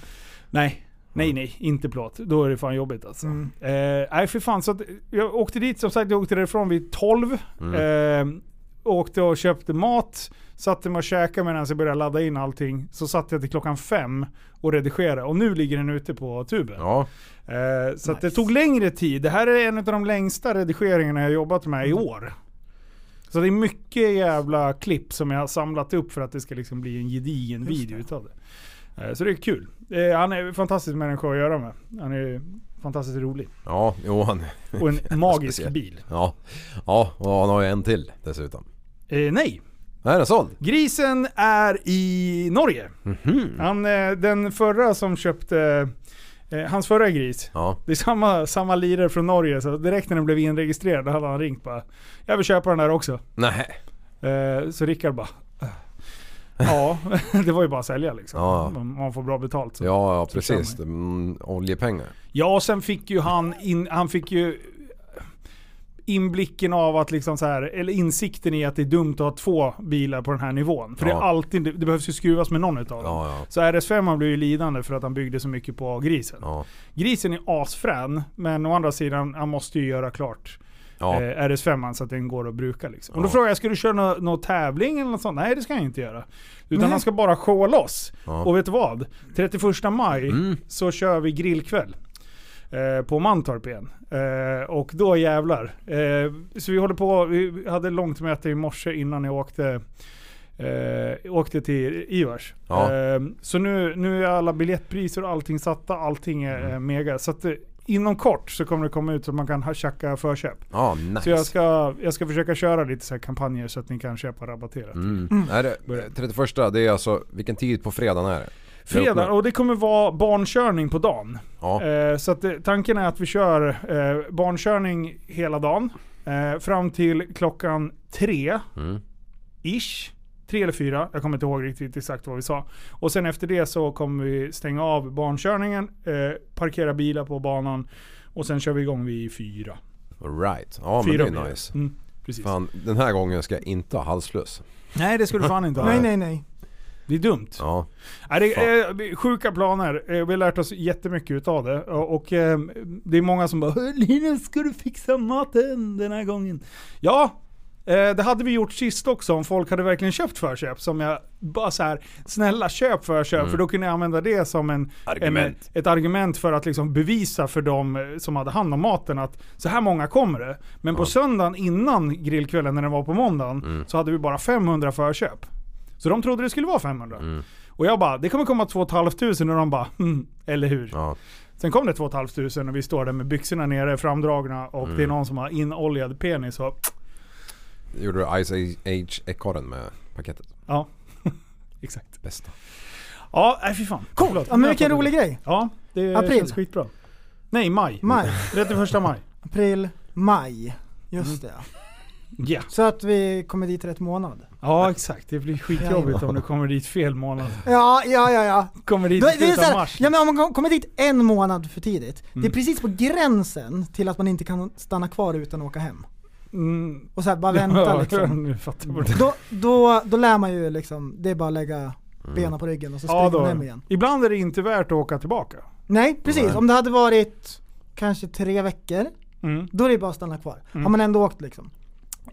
Nej. Nej nej, inte plåt. Då är det fan jobbigt alltså.
Mm.
Eh, nej för fan, så att jag åkte dit som sagt, jag åkte därifrån vid 12.
mm.
Eh, åkte och köpte mat, satte mig och käkade medan jag började ladda in allting. Så satt jag till klockan fem och redigerade och nu ligger den ute på tuben.
Ja.
Eh, så att det tog längre tid. Det här är en av de längsta redigeringarna jag jobbat med i år. Så det är mycket jävla klipp som jag har samlat upp för att det ska liksom bli en gedigen video utav det. Eh, så det är kul. Eh, han är en fantastisk människa att göra med. Han är fantastiskt rolig.
Ja, jo han.
Och en magisk
Speciell.
bil.
Ja. Ja, och han har ju en till dessutom.
Eh, nej,
Är den såld?
grisen är i Norge. Han, eh, den förra som köpte, eh, hans förra gris,
Ja.
Det är samma, samma lirare från Norge, så direkt när den blev inregistrerad hade han ringt bara Jag vill köpa den där också.
Nej.
Eh, så Rickard bara "Eh, Ja, det var ju bara att sälja liksom.
Ja.
Om man får bra betalt. Så.
Ja, ja
så
precis.
kör
Mm, oljepengar.
Ja, sen fick ju han, in, han fick ju inblicken av att liksom så här, eller insikten i att det är dumt att ha två bilar på den här nivån. För det,
Ja.
är alltid, det behövs ju skruvas med någon utav dem.
Ja, ja.
Så RS5 blev ju lidande för att han byggde så mycket på grisen.
Ja.
Grisen är asfrän, men å andra sidan, han måste ju göra klart
Ja.
eh, RS5 så att den går att bruka. Liksom. Och då
Ja.
frågade jag, ska du köra nå- någon tävling eller något sånt? Nej det ska jag inte göra. Utan han ska bara showa loss.
Ja. Mm.
Och vet du vad? 31 maj så kör vi grillkväll. Eh, på Mantorp igen. Eh, och då jävlar. Eh, så vi håller på, vi hade långt möte i morse innan jag åkte Eh, åkte till Ivars.
Ja.
Eh, så nu, nu är alla biljettpriser och allting satta. Allting är
Mm.
eh, mega. Så att, eh, inom kort så kommer det komma ut så att man kan ha- tjacka förköp.
Ja, nice.
Så jag ska, jag ska försöka köra lite så här kampanjer så att ni kan köpa rabatterat.
Mm. Är det, 31, det är alltså, vilken tid på fredagen är det?
Fredag, och det kommer vara barnkörning på dagen.
Ja.
Eh, så att, eh, tanken är att vi kör eh, barnkörning hela dagen. Eh, fram till klockan tre.
Mm.
Ish. Tre eller fyra, jag kommer inte ihåg riktigt exakt vad vi sa. Och sen efter det så kommer vi stänga av barnkörningen, eh, parkera bilar på banan och sen kör vi igång vid fyra.
Right. Ja men
fyra
det
blir
är nice.
Mm, precis.
Fan, den här gången ska jag inte ha halsfluss.
Nej det ska du fan inte ha.
Nej, nej, nej.
Det är dumt.
Ja.
Nej, det är eh, sjuka planer. Eh, Vi har lärt oss jättemycket utav det. Och och, eh, det är många som bara "Hör, Linus, ska du fixa maten den här gången? Ja, Eh, det hade vi gjort sist också om folk hade verkligen köpt förköp. Som jag bara så här, snälla köp förköp. För då kunde jag använda det som en,
Mm. Argument.
en, ett argument för att liksom bevisa för de eh, som hade hand om maten att så här många kommer det. Men på söndagen innan grillkvällen när den var på måndagen
Mm.
så hade vi bara 500 förköp. Så de trodde det skulle vara 500.
Mm.
Och jag bara, det kommer komma 2 500 och de bara, hm, eller hur?
Ja.
Sen kom det 2 500 och vi står där med byxorna nere, framdragna och
Mm.
det är någon som har inoljad penis och
Gjorde du Ice Age-ekorren med paketet?
ja. Exakt.
Bästa.
Ja, nej fy fan. Coolt!
Ja men vilken rolig grej.
Ja, det
April.
känns skitbra. Nej, maj.
Maj,
31 maj.
april, maj. Just det.
Ja.
Så att vi kommer dit rätt månad.
Ja, exakt. Det blir skitjobbigt om du kommer dit fel månad.
Ja, ja, ja, ja.
Kommer dit
Då,
i
det är
slutet
så
av
här,
mars. Mm.
ja, men om man kommer dit en månad för tidigt, det är precis på gränsen till att man inte kan stanna kvar utan att åka hem.
Mm.
Och så här, bara vänta
Ja,
liksom.
nu fattar jag vad du-
Då, då, då lär man ju liksom, det är bara att lägga
Mm.
benen på ryggen och så springer
Ja,
man
då.
hem igen.
Ibland är det inte värt att åka tillbaka.
Nej, precis. Om det hade varit kanske tre veckor,
Mm.
då är det bara att stanna kvar. Har man ändå åkt liksom.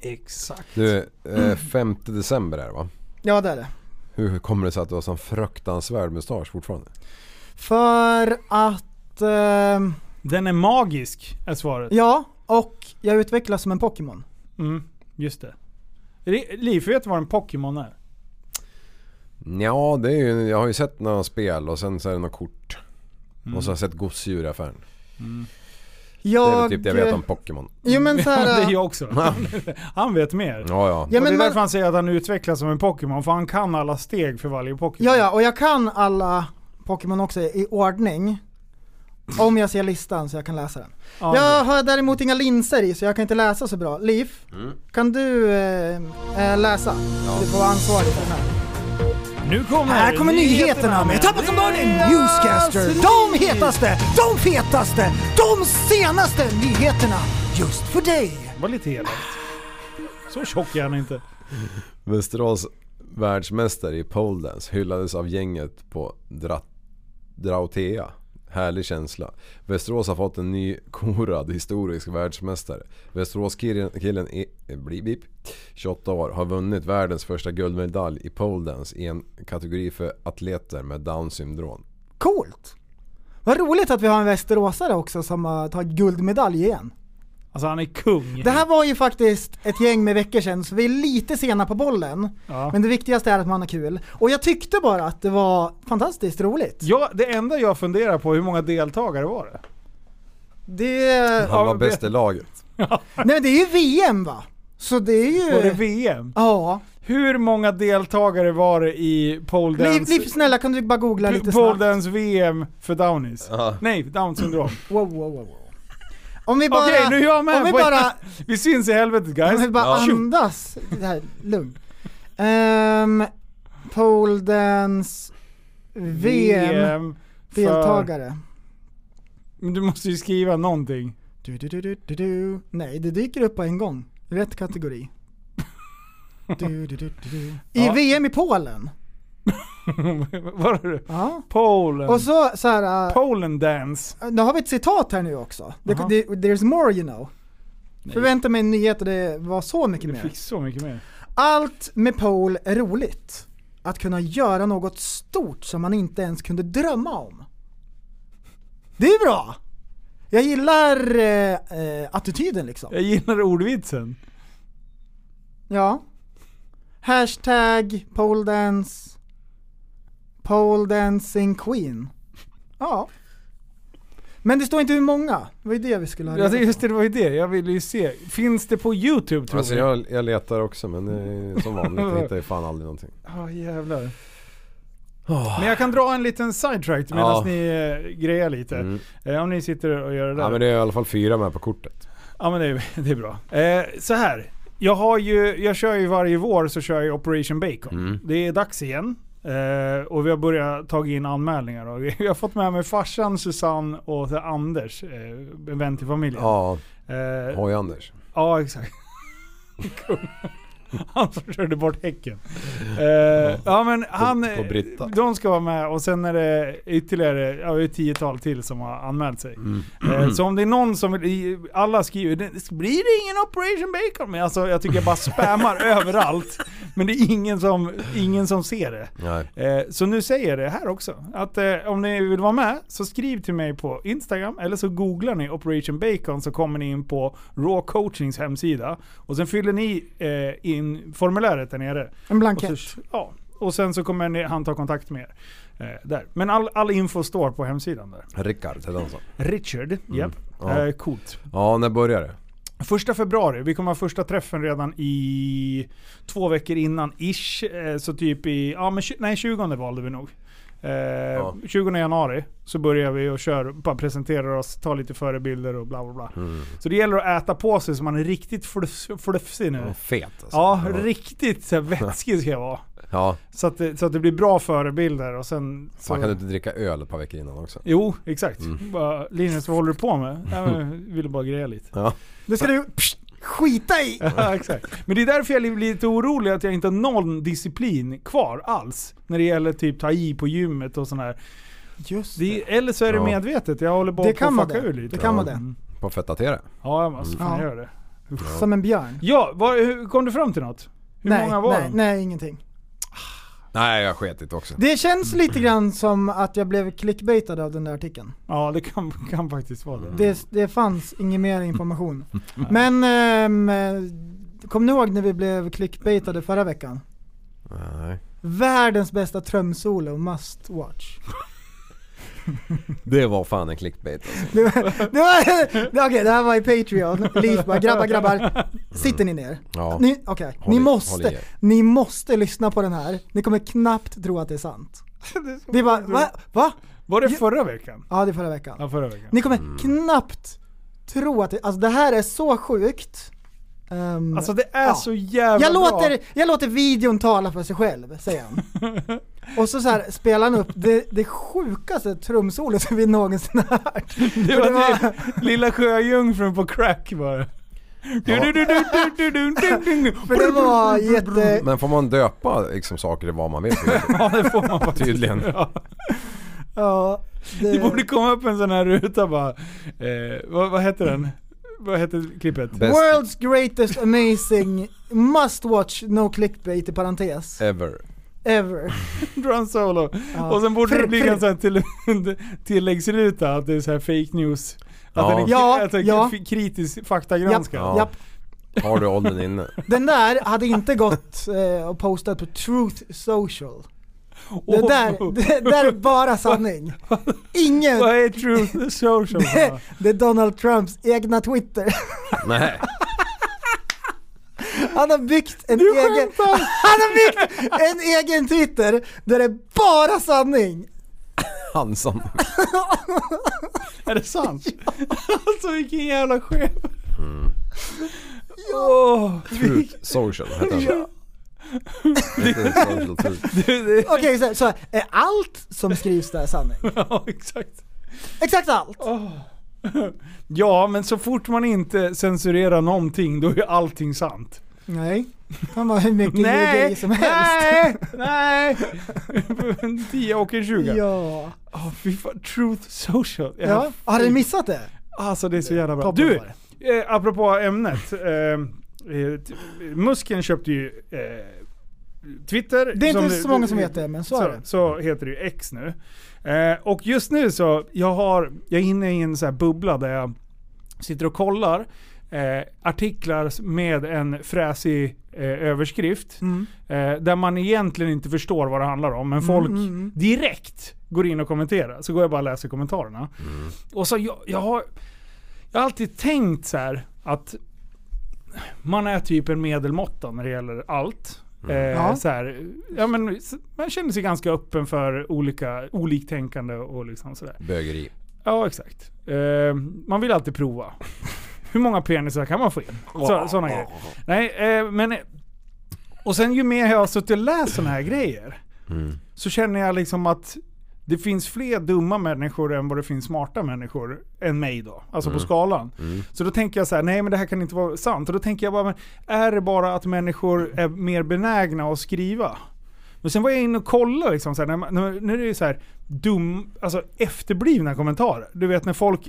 Exakt.
Du, eh, 5 december är det va?
Ja, det är det.
Hur kommer det sig att du har sån fruktansvärd mustasch fortfarande?
För att, ehm,
Den är magisk, är svaret.
ja, och jag utvecklas som en Pokémon.
Mm, just det. Re- Liv, vet du vad en Pokémon är?
Ja, det är ju, jag har ju sett några spel och sen så är det något kort. Och så har jag sett gosedjur i affären. Det
Jag, eh,
är väl typ det jag vet om Pokémon.
Jo men
Ja, det
såhär,
är jag också. Han vet mer.
Ja, ja.
Ja,
och det
men
är
man-
därför han säger att han utvecklas som en Pokémon, för han kan alla steg för varje Pokémon.
ja ja, och jag kan alla Pokémon också i ordning. Om jag ser listan så jag kan läsa den.
Ja,
Jag har däremot inga linser i så jag kan inte läsa så bra. Liv, kan du eh, eh, läsa? Du får vara ansvarig för den här.
Nu kommer,
Här kommer nyheterna med Tappat som barnen, Newscaster. De hetaste, de fetaste, de senaste nyheterna. Just för dig.
Det var lite elakt. Så tjock är han inte.
Västerås världsmästare i poledance hyllades av gänget på Dra- Drautea. Härlig känsla. Västerås har fått en ny korad historisk världsmästare. Västeråskillen killen i, eh, bli- bip, 28 år har vunnit världens första guldmedalj i poledance i en kategori för atleter med down syndrom.
Coolt. Vad roligt att vi har en västeråsare också som har tagit guldmedalj igen.
Alltså han är kung.
Det här var ju faktiskt ett gäng med veckor sedan så vi är lite sena på bollen.
Ja.
Men det viktigaste är att man har kul. Och jag tyckte bara att det var fantastiskt roligt.
Ja, det enda jag funderar på, hur många deltagare var det?
Det,
Han var
men-
bäst i laget.
nej men det är ju VM va? Så det är ju...
Var det VM?
ja.
Hur många deltagare var det i pole
Liv,
dance,
Liv, snälla kan du bara googla lite
pole
snabbt?
dance VM för Downies? Nej, Downs syndrom.
Wow, wow, wow. wow. Om vi bara...
Okej, nu är jag med
Om vi
på-
bara,
Vi syns i helvetet
om
guys.
vi bara andas. Det här, lugn. Um, pole dance VM.
för-
Deltagare.
Men du måste ju skriva någonting.
Du, du, du, du, du, du. Nej, det dyker upp på en gång. Rätt kategori. Du, du, du, du, du. I
Ja.
VM i Polen.
Var det det?
Ja.
Polen.
Och så, så här, äh,
Polen dance.
nu har vi ett citat här nu också. Det,
Jaha.
det, there's more you know. Förvänta mig en nyhet och det var så mycket
Det
mer.
fick så mycket mer.
Allt med pole är roligt. Att kunna göra något stort som man inte ens kunde drömma om. Det är bra! Jag gillar eh, eh, attityden liksom.
Jag gillar ordvitsen.
Ja. Hashtag poledance. Poledancing queen. Ja. Men det står inte hur många. Det var ju det vi skulle ha
Ja,
reda
det-
på.
just det, det var ju det. Jag ville ju se. Finns det på YouTube tror
Alltså
du?
jag, jag letar också men det är som vanligt. Jag hittar ju fan aldrig någonting.
Ja, jävlar. Men jag kan dra en liten sidetrack medan
Ja.
ni eh, grejar lite.
Mm.
Eh, om ni sitter och gör det där.
Ja, men det är i alla fall fyra med på kortet.
Ja men det är, det är bra. Eh, så här. Jag, har ju, jag kör ju varje vår så kör jag Operation Bacon.
Mm.
Mm. Det är dags igen. Eh, och vi har börjat ta in anmälningar. Och vi har fått med mig farsan, Susanne och så här Anders, eh, en vän till familjen.
Ja,
Eh,
hoj Anders.
ja exakt. Han körde bort häcken. Eh, ja men han...
på Britta.
De ska vara med och sen är det ytterligare ja, det är ett tiotal till som har anmält sig.
Mm.
Eh, så om det är någon som vill, i- alla skriver "Det- blir det ingen Operation Bacon? Men alltså jag tycker jag bara spammar överallt. Men det är ingen som, ingen som ser det.
Nej.
Eh, Så nu säger jag det här också. Att eh, om ni vill vara med så skriv till mig på Instagram eller så googlar ni Operation Bacon så kommer ni in på Raw Coachings hemsida. Och sen fyller ni eh, in formuläret där nere.
En
Och,
blankett.
så, ja, och sen så kommer ni, han ta kontakt med er. Eh, där. Men all, all info står på hemsidan där.
Rickard heter han så.
Richard, japp.
Ja.
Eh, coolt.
Ja, när börjar det?
Första februari, vi kommer ha första träffen redan i två veckor innan ish. Eh, Så typ i, ja men tju- nej 20 valde vi nog. Eh, 20 januari så börjar vi och kör, bara presenterar oss, tar lite förebilder och bla bla bla.
Mm.
Så det gäller att äta på sig så man är riktigt fluff, fluffsig nu.
Ja, fet alltså.
Ja, riktigt så här vätskig ska jag vara.
Ja,
Så att, det- så att det blir bra förebilder och sen... Så,
man kan inte dricka öl ett par veckor innan också.
Jo, exakt. Bara, Linus, vad håller du på med? Ja, men Jag ville bara greja lite.
Ja.
Det ska du pst, skita i!
Ja, exakt. Men det är därför jag blir lite orolig att jag inte har någon disciplin kvar alls. När det gäller typ ta i på gymmet och sådär.
Just
Det, eller så är det
Ja.
medvetet. Jag håller bara
Det
på
kan
att
vara
fucka
det.
ur lite.
Det kan vara det.
Mm.
På fettatere.
Ja, jag måste fan
Ja.
göra det.
Som en björn.
Ja, vad- hur, kom du fram till något? Hur
nej,
många var
nej,
de?
nej, ingenting.
Nej, jag sket i det också.
Det känns
Mm.
lite grann som att jag blev clickbaitad av den där artikeln.
Ja, det kan, kan faktiskt vara det.
Det, det fanns ingen mer information. Men, um, kom ni ihåg när vi blev clickbaitade förra veckan?
Nej.
Världens bästa trumsolo, must watch.
Det var fan en clickbait alltså.
Det var, det var, det, okej, det här var i Patreon. Leif bara, grabbar, grabbar. Sitter ni ner?
Ja.
Ni, okej,
Håll
ni,
i- håll i
måste,
er.
ni måste lyssna på den här. Ni kommer knappt tro att det är sant. Det är bara, va? va?
Var det
Ja.
förra veckan?
Ja, det är förra veckan.
Ja, förra veckan.
Ni kommer
Mm.
knappt tro att det, alltså det här är så sjukt. Ehm,
Alltså det är
Ja.
så jävla
jag,
bra.
låter, jag låter videon tala för sig själv, säger han. Och så, så här spelar han upp det, det sjukaste trumsolot som vi någonsin har hört.
Det
För
var, typ Lilla Sjöjungfrun på crack bara. Du, du, du, du, du, du, du, du, du.
För det var jätte...
Men får man döpa liksom, saker i vad man vill?
Ja, det får man faktiskt.
Tydligen.
Ja.
Ja, det,
Det borde komma upp en sån här ruta bara. Eh, vad, vad heter den? Vad heter klippet?
Best
World's greatest amazing must watch no clickbait i parentes.
ever.
Ever.
Drum solo.
Ja.
Och sen borde det
Fr-
bli
fr-
en sån här till, tilläggsruta att det är så här fake news. Att
Ja.
den är
Ja,
att den är
ja.
f- kritisk
Japp,
faktagranskad.
Ja.
japp.
Har du åldern inne?
Den där hade inte gått eh, och postat på Truth Social. Det
Åh,
där, det där är bara sanning. Ingen,
Vad är truth social?
det, det är Donald Trumps egna Twitter.
Nej.
Han har byggt en
Du
egen...
skämtar!
Han har byggt en egen Twitter där det är bara sanning.
Hansson.
Är det sant? alltså vilken jävla chef. Åh,
Truth Social heter han. Truth Social Truth.
Okej, så, så här, är allt som skrivs där sanning?
ja, exakt.
Exakt allt!
Ja, men så fort man inte censurerar någonting, då är ju allting sant.
Nej. Han var hur mycket ljugeri som helst.
nej, nej. En tia och en tjuga. Ja.
Ja.
fy fan. Truth social. Jag-
ja. Har du missat det?
Alltså det är så jävla bra.
Toppen
Du,
var det.
eh, apropå ämnet. Eh, eh, t- musken köpte ju eh, Twitter.
Det är inte
du-
så många som vet det, men så är det.
så heter det ju X nu. Eh, och just nu så, jag, har, jag är inne i en så här bubbla där jag sitter och kollar eh, artiklar med en fräsig eh, överskrift.
Mm.
Eh, där man egentligen inte förstår vad det handlar om, men folk direkt går in och kommenterar. Så går jag bara och läser kommentarerna. Och så jag, jag, har, jag har alltid tänkt så här att man är typ en medelmåtta när det gäller allt. Eh,
Ja.
så här, ja, men, s- man känner sig ganska öppen för olika, oliktänkande och liksom sådär.
Bögeri.
Ja, exakt. Eh, man vill alltid prova. Hur många penisar kan man få in? Så, såna grejer. Nej, eh, men...
Mm.
Och sen ju mer jag har suttit och läst såna här grejer, så känner jag liksom att det finns fler dumma människor än vad det finns smarta människor än mig då. Alltså på skalan. Så då tänker jag så här, nej men det här kan inte vara sant. Och då tänker jag bara, men är det bara att människor är mer benägna att skriva? Men sen var jag inne och kollade, liksom, så här, när, man- när, när det är så här, dum, alltså efterblivna kommentarer. Du vet när folk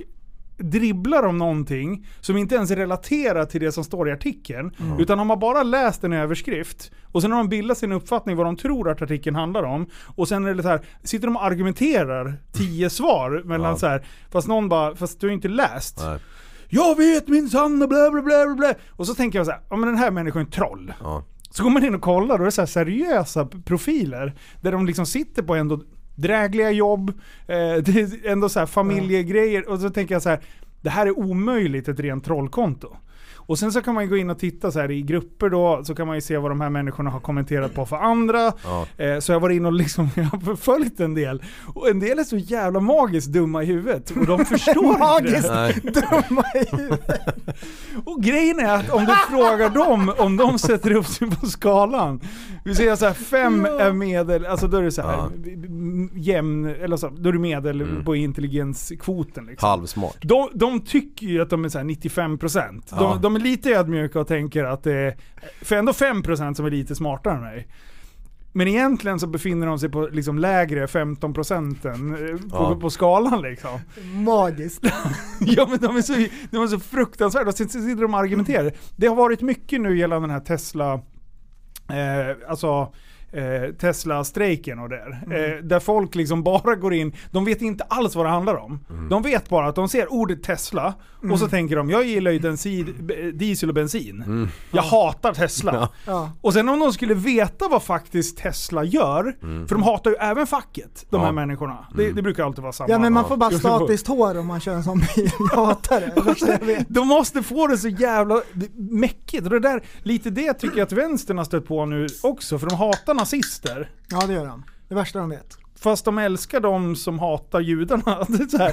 dribblar om någonting som inte ens relaterar till det som står i artikeln.
Mm.
Utan de har bara läst en överskrift och sen har de bildat sin uppfattning vad de tror att artikeln handlar om. Och sen är det så här, sitter de och argumenterar tio svar mellan
Ja.
så här, fast någon bara, fast du har ju inte läst.
Nej.
Jag vet min sanna bla bla bla bla, bla. Och så tänker jag så här, ja men den här människan är en troll.
Ja.
Så går man in och kollar och det är så här seriösa profiler där de liksom sitter på ändå drägliga jobb, eh, det är ändå så här familjegrejer och så tänker jag så här, det här är omöjligt ett rent trollkonto. Och sen så kan man ju gå in och titta så här i grupper då, så kan man ju se vad de här människorna har kommenterat på för andra.
Ja.
Eh, så jag var inne och liksom, jag har följt en del. Och en del är så jävla magiskt dumma i huvudet och de förstår inte det.
Magiskt
Nej.
dumma i huvudet.
Och grejen är att om du frågar dem om de sätter upp sig på skalan. Vi säger såhär, fem är medel, alltså då är det såhär
Ja. Mm.
m- jämn, eller så, då är det medel på intelligenskvoten liksom.
Halvsmart.
De, de tycker ju att de är såhär 95%. De,
Ja.
de är lite ödmjuka och tänker att det är, för ändå 5% som är lite smartare än mig. Men egentligen så befinner de sig på liksom lägre 15% eh, på,
Ja.
på skalan liksom.
Magiskt.
Ja men de är så, de är så fruktansvärda. Och sen så sitter de och argumenterar. Det har varit mycket nu gällande den här Tesla, eh, alltså eh, Tesla-strejken och där. Eh,
Mm.
där folk liksom bara går in, de vet inte alls vad det handlar om.
Mm.
De vet bara att de ser ordet Tesla och så tänker de, jag gillar ju bensin, b- diesel och bensin. Jag hatar Tesla.
Mm. Ja.
Och sen om de skulle veta vad faktiskt Tesla gör,
Mm.
för de hatar ju även facket, de
Ja.
här människorna. Det, det brukar alltid vara samma.
ja men man får bara
Jo, det får-
statiskt hår om man kör en sån bil. Jag hatar det. det. värsta jag vet.
De måste få det så jävla mäckigt. Och det där, lite det tycker jag att vänstern har stött på nu också, för de hatar nazister.
Ja det gör de. Det värsta de vet.
Fast de älskar de som hatar judarna. Det är så här.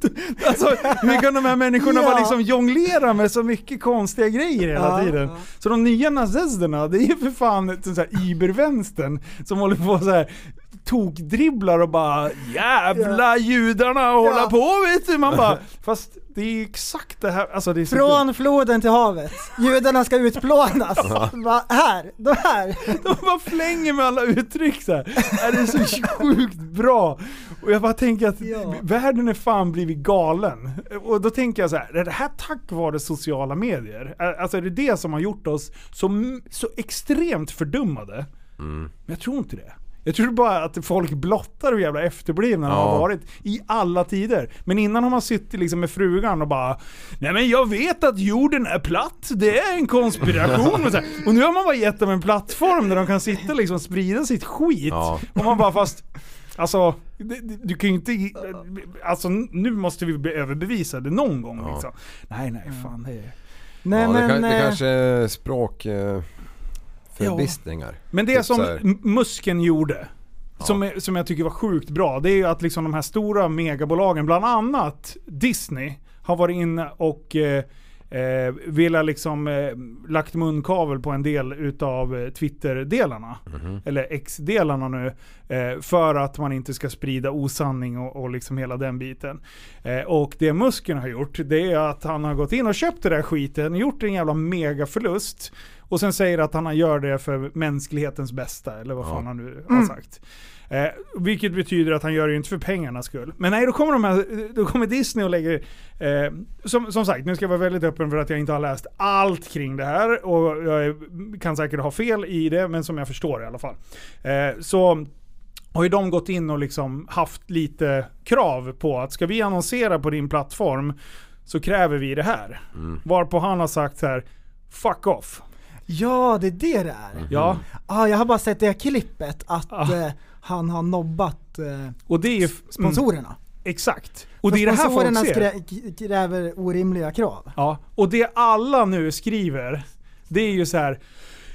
De- alltså, hur kan de här människorna
Ja.
bara liksom jonglera med så mycket konstiga grejer hela
Ja,
tiden?
ja.
Så de nya nazisterna, det är ju för fan ett sånt här ibervänstern som håller på så här tokdribblar och bara jävla judarna och hålla
Ja.
på vet du. Man bara, fast det är ju exakt det här. Alltså, det är så
Från floden till havet. Judarna ska utplånas. Va? Här, de här.
De bara flänger med alla uttryck så här. Är det är så sjukt bra. Och jag bara tänker att
Ja.
världen är fan blivit galen. Och då tänker jag så här, är det här tack vare sociala medier? Ä- Alltså är det det som har gjort oss så, m- så extremt fördummade? Men jag tror inte det. Jag tror bara att folk blottar hur jävla efterblivna de
Ja.
har varit i alla tider. Men innan har man suttit liksom med frugan och bara Nej men jag vet att jorden är platt, det är en konspiration. och, så här. och nu har man bara gett dem en plattform där de kan sitta liksom och sprida sitt skit.
Ja.
Och man bara fast, alltså det- det- du kan ju inte, alltså nu måste vi bli överbevisade någon gång
Ja.
liksom. Nej nej fan det är...
Nej
ja, det,
men...
kan, det
eh,
kanske är språk... Eh, förbistringar.
Men det
Typ
som
så här.
M- Musken gjorde, som, är- som jag tycker var sjukt bra, det är ju att liksom de här stora megabolagen, bland annat Disney, har varit inne och eh, eh, velat liksom eh, lagt munkavel på en del utav eh, Twitter-delarna.
Mhm.
Eller X-delarna nu. Eh, för att man inte ska sprida osanning och, och liksom hela den biten. Eh, och det Musken har gjort, det är att han har gått in och köpt det där skiten, gjort en jävla megaförlust. Och sen säger att han gör det för mänsklighetens bästa, eller vad fan han nu har sagt. Eh, vilket betyder att han gör det ju inte för pengarnas skull. Men nej, då kommer, de här, då kommer Disney och lägger... Eh, som, som sagt, nu ska jag vara väldigt öppen för att jag inte har läst allt kring det här. Och jag är- kan säkert ha fel i det, men som jag förstår i alla fall. Eh, så har ju de gått in och liksom haft lite krav på att ska vi annonsera på din plattform så kräver vi det här. Varpå han har sagt så här, fuck off.
Ja det är det det
Mm.
är.
Ja,
Ah, jag har bara sett det här klippet att
Ah.
eh, han har nobbat eh,
och det är ju... Mm,
sponsorerna.
exakt. Och det är det här folk
sponsorerna
ser.
skrä- kräver orimliga krav.
Ja, och det alla nu skriver, det är ju så här.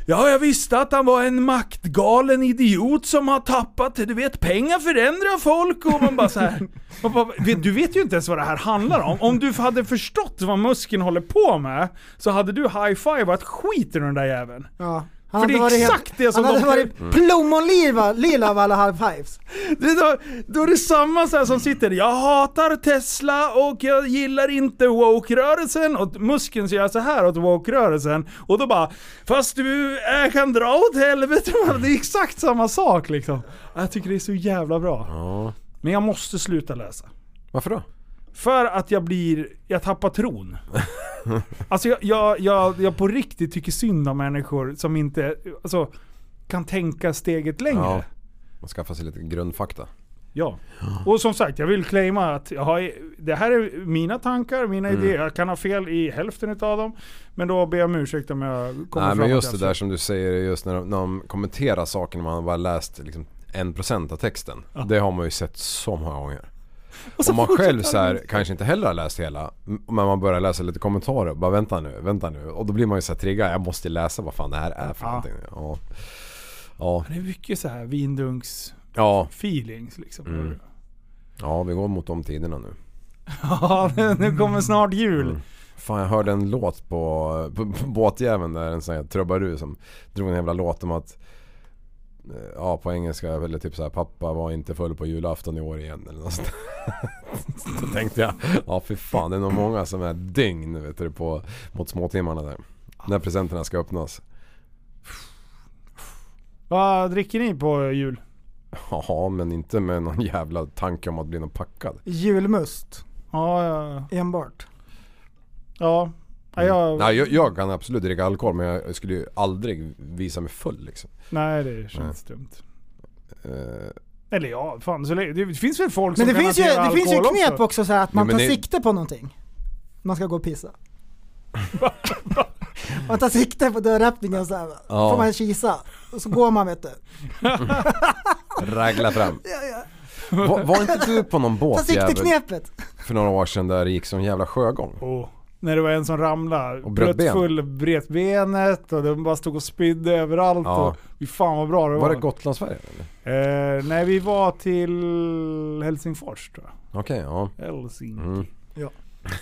Ja, jag visste att han var en maktgalen idiot som har tappat, du vet pengar förändrar folk och man bara så här. Man bara, vet- Du vet ju inte ens vad det här handlar om. Om du hade förstått vad muskeln håller på med så hade du high-fivat skiten ur den där jäveln.
Ja. Han
För det är
hade varit
exakt det som
Han hade
de- Mm.
varit plommonlila lila av alla high-fives.
Det är då, då är det samma så här som sitter Jag hatar Tesla och jag gillar inte woke-rörelsen och muskeln så gör så här åt woke-rörelsen och då bara Fast du äh, kan dra åt helvete man. Det är exakt samma sak liksom. Jag tycker det är så jävla bra.
Ja.
Men jag måste sluta läsa.
Varför då?
För att jag blir, jag tappar tron. Alltså jag, jag, jag, jag på riktigt tycker synd om människor som inte alltså, kan tänka steget längre.
Ja. Man skaffar sig lite grundfakta.
Ja. Och som sagt, jag vill claima att jag har, det här är mina tankar, mina
Mm.
idéer. Jag kan ha fel i hälften av dem. Men då ber jag om ursäkt om jag kommer
Nej
fram
men
till
just det
att-
där som du säger, just när de, när de kommenterar saker när man bara läst liksom 1% av texten. Det har man ju sett så många gånger.
Och så
Om man
fortsätter
själv så här, kanske inte heller har läst hela, m- men man börjar läsa lite kommentarer. Bara vänta nu, vänta nu. Och då blir man ju så här triggad. Jag måste ju läsa vad fan det här är för
Ja.
någonting. Ja. Ja.
Det är mycket så här vindunks-feelings
ja,
liksom.
Mm. ja vi går mot de tiderna nu.
Ja, nu kommer snart jul.
Mm. Fan jag hörde en låt på, på, på båtjäveln där en sån här trubadur som drog en jävla låt om att eh, Ja på engelska eller typ såhär pappa var inte full på julafton i år igen eller något sånt där. Så tänkte jag ja för fan det är nog många som är dygn vet du på mot småtimmarna där. När presenterna ska öppnas.
Vad dricker ni på jul?
Ja men inte med någon jävla tanke om att bli någon packad.
Julmust,
Ja, ja.
enbart.
ja. ja jag,
Mm. Nej jag, jag kan absolut dricka alkohol men jag skulle ju aldrig visa mig full liksom.
nej, det känns
Nej.
dumt.
Eh,
Eller ja, fan så länge. Det finns väl folk
Men
som
det
kan
finns, ju,
hantera
det finns ju
alkohol
knep också så här att man
men
tar
det-
sikte på någonting. Man ska gå och pissa. man tar sikte på dörröppningen så här,
Ja.
får man kisa. Och så går man vet du.
Ragla fram. Var, var inte du på någon
Ta
båt jävel,
sikte-knepet.
för några år sedan där det gick som jävla sjögång?
Åh, när det var en som ramlade.
Och bröt ben.
Pruttfull bröt benet och den bara stod och spydde överallt.
Ja.
Och, fy fan vad bra det var.
Var det Gotlandsfärjan eller?
Eh, nej, vi var till Helsingfors tror jag.
Okej, ja.
Helsinki.
Mm.
Ja.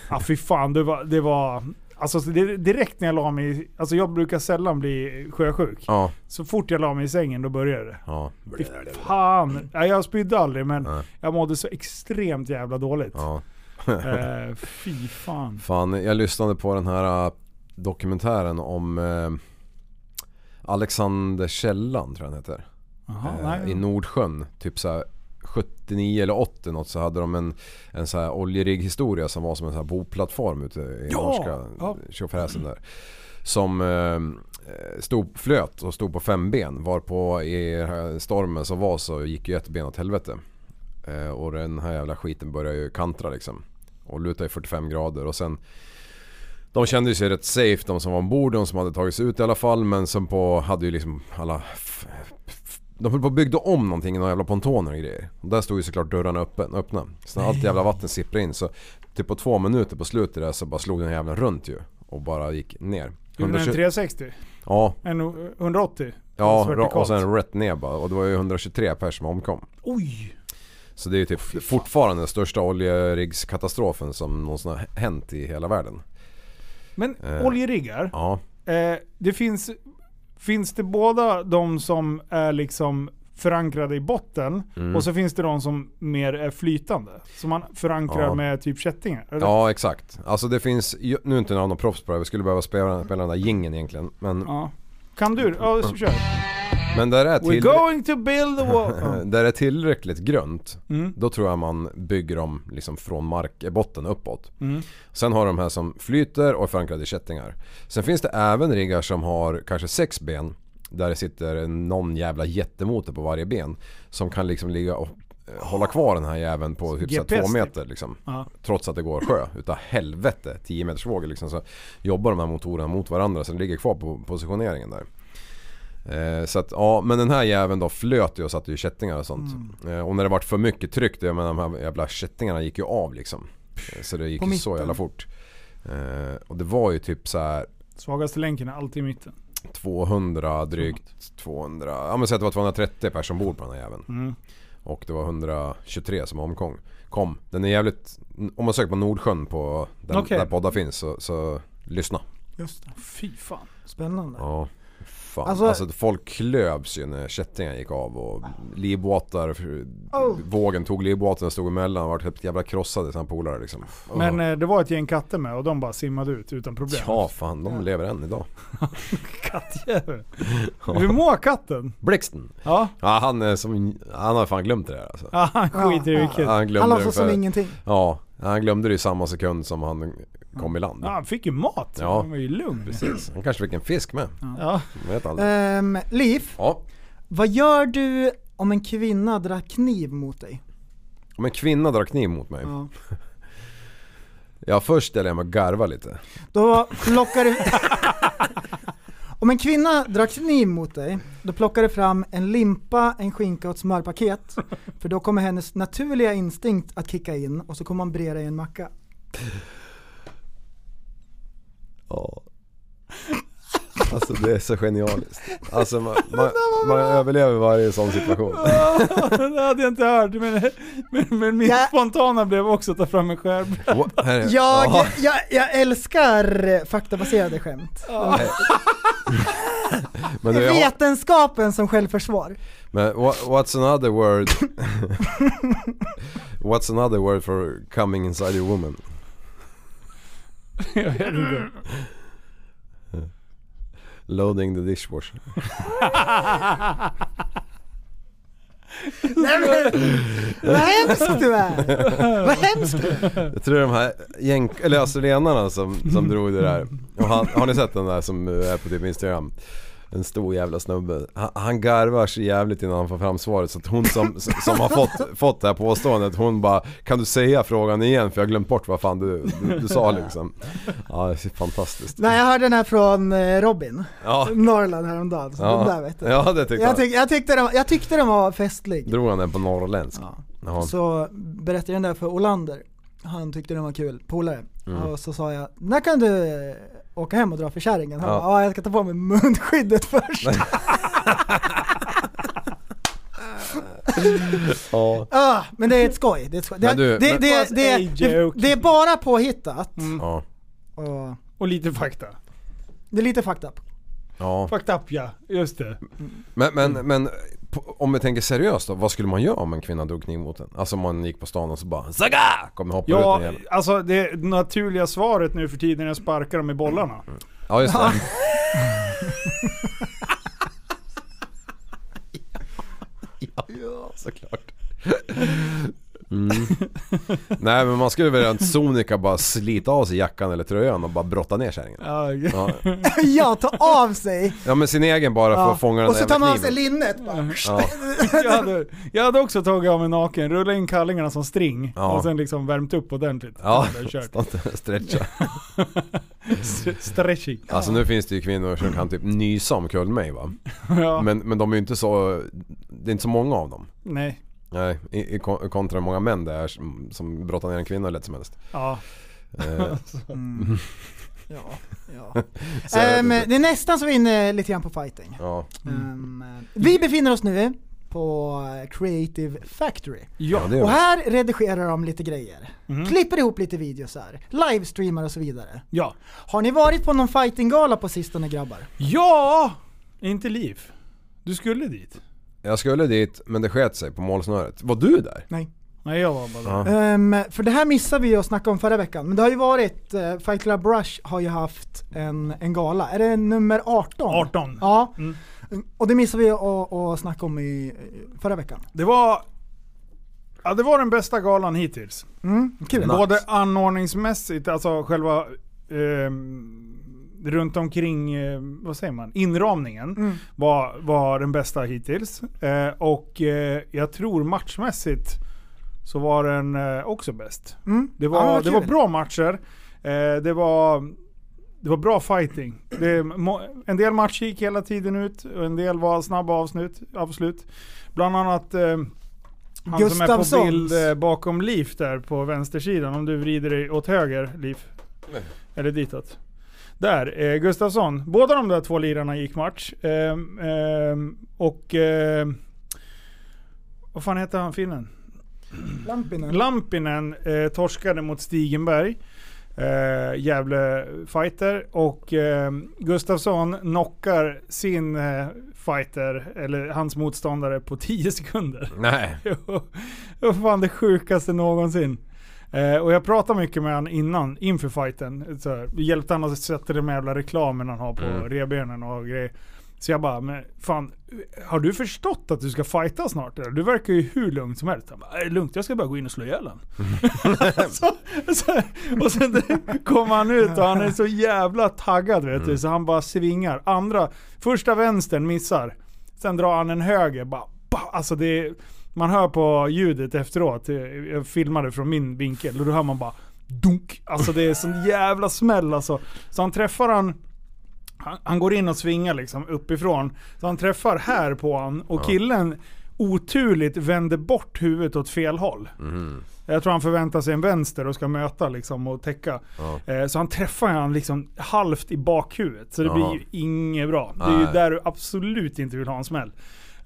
ah, fy fan, det var... Det var alltså så det, direkt när jag la mig i- Alltså jag brukar sällan bli sjösjuk.
Ja,
Så fort jag la mig i sängen då började det.
ja.
Fy fan. Nej, jag spydde aldrig men
Nej.
jag mådde så extremt jävla dåligt.
ja.
Eh, fy fan.
Fan, jag lyssnade på den här äh, dokumentären om eh, Alexander Källan tror jag han heter.
Jaha,
eh,
nej.
I Nordsjön. Typ så här 79 eller 80 något så hade de en, en så här oljerigg-historia som var som en så här boplattform ute i
Ja,
norska
ja.
tjofräsen där. Som eh, stod, flöt och stod på fem ben varpå i den här stormen som var så gick ju ett ben åt helvete. Eh, och den här jävla skiten började ju kantra liksom. Och luta i 45 grader och sen de kände sig rätt safe de som var ombord, de som hade tagits ut i alla fall men som på, hade ju liksom alla... f- f- De höll på och byggde om någonting, några jävla pontoner och grejer. Och där stod ju såklart dörrarna öppen, öppna. Så när allt jävla vatten sipprade in så typ på två minuter på slutet där så bara slog den jävla runt ju. Och bara gick ner.
Gjorde den
120
en 360?
Ja,
En o- 180?
ja
vertikalt.
och sen rätt ner bara. Och det var ju 123 personer som omkom.
Oj!
Så det är ju typ fortfarande den största oljeriggskatastrofen som någonsin har hänt i hela världen.
Men
Eh.
oljeriggar,
Ja,
eh, det finns, finns det båda de som är liksom förankrade i botten
Mm.
och så finns det de som mer är flytande. Som man förankrar
Ja.
med typ kättingar. eller?
Ja exakt. Alltså det finns, ju- nu är inte jag någon proffs på det här, vi skulle behöva spela, spela den där jingeln egentligen. Men,
Ja. Kan du? Ja, så kör.
men där, är
We're
Mm. till,
going to build a wall. Ja.
där det är tillräckligt grönt,
Mm.
då tror jag man bygger dem liksom från markbotten uppåt.
Mm.
Sen har de här som flyter och är förankrade i kättingar. Sen finns det även riggar som har kanske sex ben, där det sitter någon jävla jättemotor på varje ben. Som kan liksom ligga och eh, hålla kvar den här jäveln på typ så här
GPS
två
typ.
meter liksom.
Ja.
Trots att det går sjö utav helvete, 10 meters vågor liksom, så jobbar de här motorerna mot varandra så den ligger kvar på positioneringen där. Eh, så att, ja, men den här jäveln då flöt ju och satte ju kättingar och sånt. Eh, och när det vart för mycket tryck, det, jag menar, de här jävla kättingarna gick ju av liksom. Eh, Så det gick
På
ju så
mitten.
jävla fort. Eh, och det var ju typ så här
Svagaste länken är alltid i mitten.
200 drygt 200, ja men säg att det var 230 personer som bor på den här jäveln.
Mm.
Och det var 123 som omkom. Kom, den är jävligt... Om man söker på Nordsjön på den,
Okej.
där poddar finns så, så lyssna.
Just det.
Fy fan.
Spännande.
Ja. Fan. Alltså,
Alltså-
folk klövs ju när kättingen gick av och livbåtar,
Oh.
vågen tog livbåten och stod emellan och vart helt jävla krossade sina polare liksom.
Men eh, det var ett gäng katter med och de bara simmade ut utan problem.
Ja fan, de lever än idag.
Kattjävel. Hur mår katten?
Blixten!
Ja,
Ja, han, är som, han har fan glömt det där alltså.
ja han skiter i
Ja.
vilket.
Han
Han
glömde det
låtsas som
för,
ingenting.
Ja, han glömde det i samma sekund som han kom i land.
Ja, han fick ju mat.
Ja.
Han var ju lugn.
Precis. Han kanske fick en fisk med.
Ja.
Man vet aldrig.
Ehm, Liv,
Ja.
vad gör du om en kvinna drar kniv mot dig?
Om en kvinna drar kniv mot mig.
Ja.
Ja först ställer jag mig och garvar lite.
Då plockar du... Om en kvinna drar kniv mot dig, då plockar du fram en limpa, en skinka och ett smörpaket. För då kommer hennes naturliga instinkt att kicka in och så kommer man bre dig en macka.
Ja. Alltså det är så genialiskt. Alltså man, man, man överlever varje sån situation.
det hade jag inte hört. Men, men, men min
Ja.
spontana blev också att ta fram en skärbräda.
What? Här är-
Jag,
Ja.
jag, jag älskar eh, faktabaserade skämt.
Men,
Det
du, jag,
är
har-
vetenskapen som självförsvar.
men what, what's another word? what's another word for coming inside your woman?
Jag vet inte.
Loading the dishwasher.
Vad hemsk du är! Vad hemsk du är!
Jag tror de här gäng, eller australienarna som, som drog det där. Och han, har ni sett den där som är på typ Instagram? En stor jävla snubbe. Han, han garvar så jävligt innan han får fram svaret så att hon som, som har fått, fått det här påståendet hon bara Kan du säga frågan igen för jag har glömt bort vad fan du, du, du sa liksom. Ja det är fantastiskt.
Nej jag hörde den här från eh, Robin,
Ja,
Norrland häromdagen. Så den
ja.
där vet du.
ja det tyckte
Jag,
han.
tyck, jag, tyckte den, jag tyckte den var festlig.
Drog han den på norrländsk?
Ja.
Ja.
Så berättade jag den där för Olander. Han tyckte den var kul, polare.
Mm.
Och så sa jag, när kan du eh, åka hem och dra för kärringen? Han
Ja.
bara, ja jag ska ta på mig munskyddet först.
Ja.
ah, men det är ett skoj. Det är, ett skoj. Det,
Men du,
det,
men-
det,
Fast
det,
ej
det,
joke.
det är bara påhittat.
Ja.
Och
Och lite fakta.
det är lite fucked up.
ja.
Fucked up ja, just det.
Men, men,
Mm.
men på- om vi tänker seriöst då, vad skulle man göra om en kvinna drog kniv mot en? Alltså om man gick på stan och så bara ZAGA! Kommer hoppa
Ja,
ut en jävla...
alltså det naturliga svaret nu för tiden är att sparka dem i bollarna.
Ja just det. ja, såklart. Mm. Nej men man skulle väl rent sonika bara slita av sig jackan eller tröjan och bara brotta ner kärringen.
Ja,
Ja.
ja, ta av sig.
ja men sin egen bara för
Ja.
att fånga den
Och
där
så tar man av
jävla
sig
kniven.
linnet. Bara.
Ja.
jag, hade, jag hade också tagit av mig naken, rullat in kallingarna som string
Ja.
och sen liksom värmt upp ordentligt.
Ja,
Hade jag kört.
stretcha.
Stretching.
Alltså nu finns det ju kvinnor som kan typ nysa omkull mig va.
Ja,
Men, men de är ju inte så, det är inte så många av dem.
nej.
Nej, i, i kon- kontra många män det är som, som brottar ner en kvinna lätt som helst.
Ja. Mm.
Eh,
Ja, ja.
så jag vet
Ehm,
inte.
det är nästan så vi är inne lite grann på fighting.
ja.
Ehm, vi befinner oss nu på Creative Factory.
ja, det
Och
gör
här redigerar de lite grejer.
Mhm.
Klipper ihop lite videos här. Livestreamar och så vidare.
Ja.
Har ni varit på någon fightinggala på sistone grabbar?
Ja! Inte liv. Du skulle dit.
det. Jag skulle dit men det sket sig på målsnöret. Var du där?
Nej.
Nej jag var bara
Ja.
Ehm, för det här missade vi ju att snacka om förra veckan. Men det har ju varit, eh, Fight Club Rush har ju haft en, en gala. Är det nummer 18?
18.
Ja.
Mm.
Och det missade vi att, att snacka om i eh, förra veckan.
Det var... Ja det var den bästa galan hittills.
Mm, kul.
Både anordningsmässigt, alltså själva ehm, runt omkring, eh, vad säger man, inramningen var, var den bästa hittills. Eh, och eh, jag tror matchmässigt så var den eh, också bäst.
Mm.
Det var,
Ja, men vad
det var
kul.
bra matcher. Eh, det, var, det var bra fighting. Det, må, en del matcher gick hela tiden ut och en del var snabba avslut. avslut. Bland annat eh, han som är på
Gustafssons.
bild eh, bakom Liv där på vänstersidan. Om du vrider dig åt höger Liv. Eller ditåt. Där, eh, Gustafsson. Båda de där två lirarna gick match. Ehm, ehm, och... ehm, vad fan heter han finnen?
Lampinen.
Lampinen eh, torskade mot Stigenberg. eh, Gävle fighter och eh, Gustafsson knockar sin eh, fighter, eller hans motståndare, på 10 sekunder.
Nej.
Jo, det var fan det sjukaste någonsin. Eh, och jag pratade mycket med han innan, inför fighten. Så här, hjälpte han att sätta den jävla reklamen han har på
Mm.
revbenen och grejer. Så jag bara, men fan, har du förstått att du ska fighta snart? eller? Du verkar ju hur lugn som helst. Han bara, är det lugnt? Jag ska bara gå in och slå ihjäl han. så, så, och sen kommer han ut och han är så jävla taggad vet du. Så han bara svingar. Andra, första vänstern missar. Sen drar han en höger. Bara, ba, alltså det är, man hör på ljudet efteråt. eh, Jag filmade från min vinkel och då hör man bara dunk. Alltså det är sån jävla smäll alltså. Så han träffar han han, han går in och svingar liksom uppifrån. Så han träffar här på han och killen oturligt vänder bort huvudet åt fel håll.
Mhm.
Jag tror han förväntar sig en vänster och ska möta liksom och täcka.
Ja.
Eh, Så han träffar han liksom halvt i bakhuvudet. Så det blir
Jaha.
ju inget bra. Det är ju
Nej.
där du absolut inte vill ha en smäll.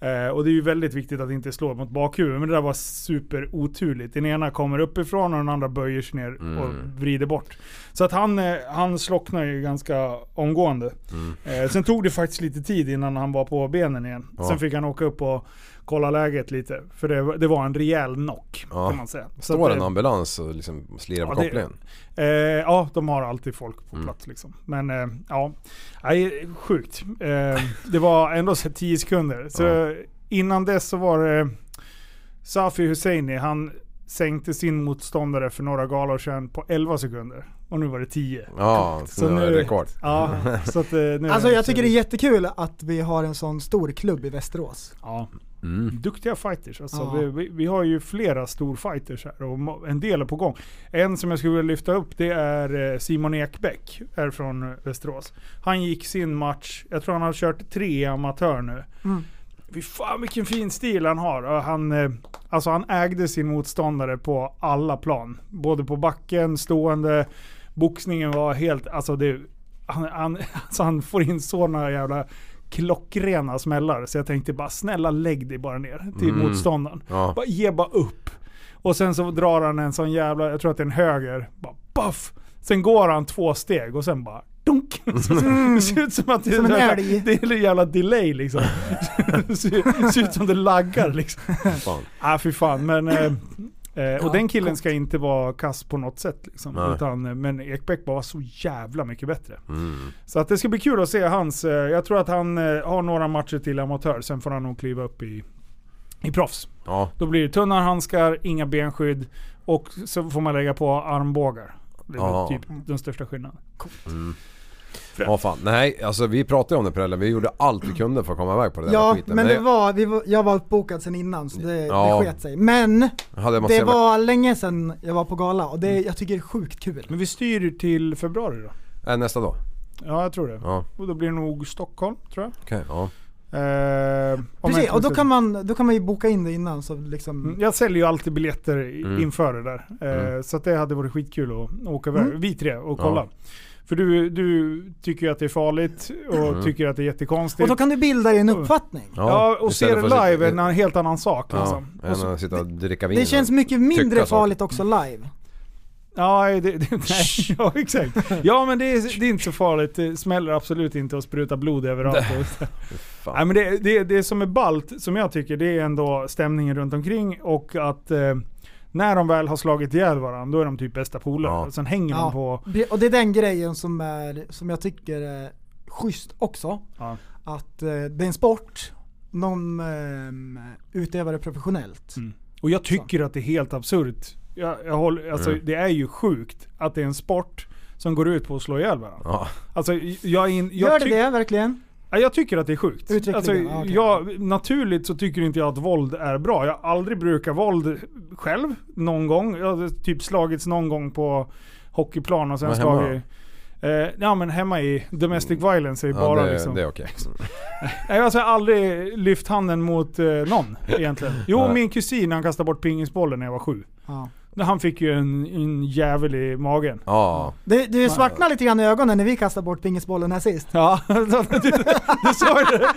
Eh, och det är ju väldigt viktigt att inte slå mot bakhuvudet. Men det där var superoturligt. Den ena kommer uppifrån och den andra böjer sig ner och
Mm.
vrider bort. Så att han, eh, han slocknar ju ganska omgående. Eh, sen tog det faktiskt lite tid innan han var på benen igen.
Mm. Ja.
Sen fick han åka upp och kolla läget lite. För det, det var en rejäl knock
Ja.
kan man säga. Så
Står
att,
en
eh,
ambulans och liksom slirar på
Ja, det-
kopplingen?
Eh, ja, de har alltid folk på plats liksom. Men eh, ja, Nej, sjukt. Eh, det var ändå så 10 sekunder. Så
Ja.
innan dess så var det Safi Husseini, han sänkte sin motståndare för några galor sedan på 11 sekunder. Och nu var det 10.
Ja, så nu är det rekord.
Ja, så att, eh, nu
Alltså jag tycker det är jättekul att vi har en sån stor klubb i Västerås.
Ja,
Mm.
duktiga fighters. Alltså,
Ja.
vi, vi, vi har ju flera storfighters här och må- en del är på gång. En som jag skulle vilja lyfta upp det är eh, Simon Ekbäck, är från eh, Västerås. Han gick sin match, jag tror han har kört tre i amatör nu.
Mm.
Fy fan vilken fin stil han har. Och Han, eh, alltså han ägde sin motståndare på alla plan. Både på backen, stående, boxningen var helt, alltså det, han, han, alltså han får in sådana jävla klockrena smällar. Så jag tänkte bara snälla lägg dig bara ner till
Mm.
motståndaren.
Ja.
Bara ge bara upp. Och sen så drar han en sån jävla, jag tror att det är en höger, bara buff. Sen går han två steg och sen bara dunk. Det ser ut som att det är,
Som en
jävla,
älg.
det är en jävla delay liksom. Det ser, ser ut som det laggar liksom.
Fan.
Ah, fy fan. Men, eh, eh, och
Ja,
den killen ska inte vara kass på något sätt. Liksom,
Nej.
utan, eh, men Ekbäck bara var så jävla mycket bättre.
Mm.
Så att det ska bli kul att se hans. Eh, jag tror att han eh, har några matcher till amatör. Sen får han nog kliva upp i, i proffs.
Ja.
Då blir det tunnare handskar, inga benskydd och så får man lägga på armbågar. Det är
Ja.
typ den största skillnaden.
Ja fan, nej alltså vi pratade om det Prellen, vi gjorde allt vi kunde för att komma iväg på det där
Ja,
skiten.
men det var, vi var, jag var uppbokad sen innan så det,
Ja.
det sket sig. Men
hade man
det
sett-
var länge sedan jag var på gala och det, jag tycker det är sjukt kul.
Men vi styr till februari då?
Nej, Äh, nästa dag.
Ja, jag tror det.
Ja,
Och då blir det nog Stockholm, tror jag.
okej. ja.
Eh, om jag
Precis,
inte
och då
minns
kan, man, då kan man ju boka in det innan så liksom...
Mm, Jag säljer ju alltid biljetter i-
Mm.
inför det där. Eh,
Mm.
Så att det hade varit skitkul att åka iväg,
Mm.
vi tre, och kolla.
Ja.
För du, du tycker ju att det är farligt och
Mm.
tycker att det är
Och
jättekonstigt.
då kan du bilda dig en uppfattning.
ja, och se
istället
det
för att
live är
sitta-
en an- helt annan sak.
Ja,
liksom.
än
och så,
att sitta och dricka vin.
Det känns mycket mindre
saker.
farligt också live.
ja, nej, det, det, nej, ja, exakt. Ja, men det är, det är inte så farligt. Det smäller absolut inte och sprutar blod överallt. Och- Nej, men det, det, det som är ballt, som jag tycker, det är ändå stämningen runt omkring och att eh, när de väl har slagit ihjäl varandra, då är de typ bästa polare.
Ja.
Och Sen hänger de på...
Ja. Och det är den grejen som, är, som jag tycker är schysst också.
Ja.
Att eh, det är en sport, någon ehm, utövar det
Mm.
professionellt.
Och jag tycker att det är helt absurt. Jag, jag håller, alltså, Det är ju sjukt att det är en sport som går ut på att slå ihjäl varandra.
Ja,
Alltså, jag, är in,
Gör
jag,
det
tyck-
det verkligen?
Ja, jag tycker att det är sjukt.
Uttryckligen,
Alltså,
ja, okej.
jag, naturligt så tycker inte jag att våld är bra. Jag har aldrig brukat våld själv någon gång. Jag har typ slagits någon gång på hockeyplan och sen
Men hemma Mm.
slagit... Eh, ja men hemma i domestic violence är ju
ja
bara
det,
liksom...
det är okej.
Nej, alltså, jag har aldrig lyft handen mot eh, någon egentligen. Jo,
Nej.
min kusin han kastade bort pingisbollen när jag var sju.
Ja.
Han fick ju en, en jävel i magen.
Ja,
Det, det svartnade lite grann i ögonen när vi kastade bort pingisbollen här sist.
Ja, du, du sa ju det.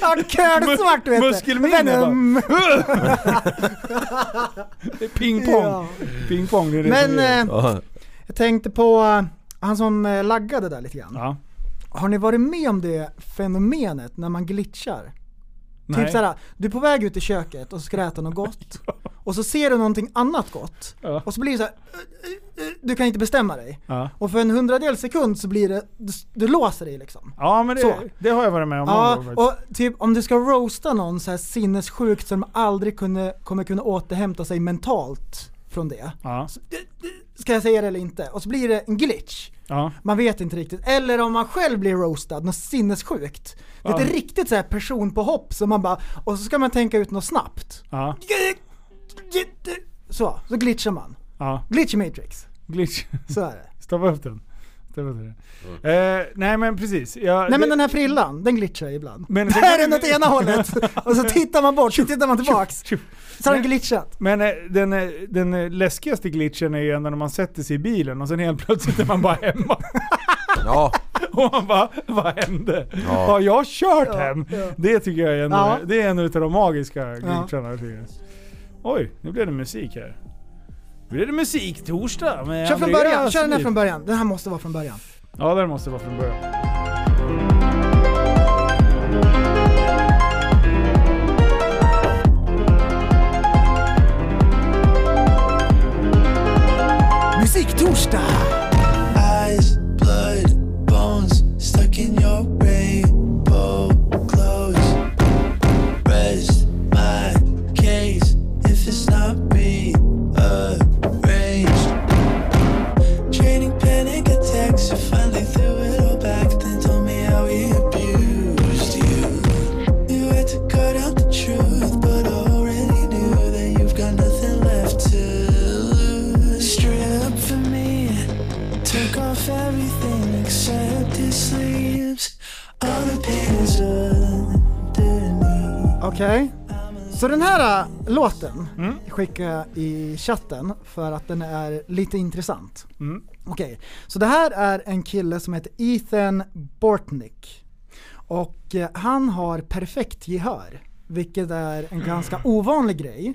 Ja, Kölsvart vet du!
muskelminne bara.
Men, mm,
Pingpong.
Ja.
Pingpong det är det som
men
gäller.
eh,
ja.
Jag tänkte på eh, han som eh, laggade där lite grann.
Ja.
Har ni varit med om det fenomenet när man glitchar?
Nej.
Typ såhär, du är på väg ut i köket och så ska du äta något gott. Och så ser du någonting annat gott.
Ja.
Och så blir det såhär, eh, eh, eh, du kan inte bestämma dig.
Ja.
Och för en hundradel sekund så blir det, du, du låser dig liksom.
ja, men
Så.
det, det har jag varit med om. någon
Ja,
gång faktiskt.
och typ om du ska roasta någon så här sinnessjukt som aldrig kunde, kommer kunna återhämta sig mentalt från det.
ja.
Ska jag säga det eller inte? Och så blir det en glitch.
Ja.
Man vet inte riktigt. Eller om man själv blir roastad, något sinnessjukt. Det är
Ja.
ett riktigt så här person på hopp som man bara, och så ska man tänka ut något snabbt.
Ja.
Så, så glitchar man.
ja.
Glitch i Matrix.
Glitch.
Så är det.
Stoppa upp den. Stoppa upp den. Eh, nej men precis. Jag,
Nej men
det-
den här frillan, den glitchar jag ibland.
Men-
Där är den åt ena hållet! Och så tittar man bort, så tittar man tillbaks.
Tjo,
Så har den glitchat.
Men eh, den, eh, den eh, läskigaste glitchen är ju ändå när man sätter sig i bilen och sen helt plötsligt är man bara hemma.
Ja,
Och man bara, vad hände?
Ja.
Har jag kört hem?
ja.
Det tycker jag är en,
Ja.
det är en utav de magiska glitcharna. tycker jag. Oj, nu blev det musik här. Nu blev det musik torsdag med
Kör från
Andreas
början, kör den här
Liv.
från början. Den här måste vara från början.
Ja, den måste vara från början.
Musiktorsdag!
eyes, blood, bones stuck in your rainbow clothes. Rest my case if it's not rearranged. Training panic attacks, you finally threw it all back. Then told me how he abused you. You had to cut out the truth, but I already knew that you've got nothing left to lose. Strip for me. Took off everything except his sleeves. All the pins underneath.
Okej. Så den här äh, låten
Mm.
skickar jag i chatten för att den är lite intressant.
Mm.
Okej, så det här är en kille som heter Ethan Bortnick. Och eh, han har perfekt gehör, vilket är en ganska
Mm.
ovanlig grej.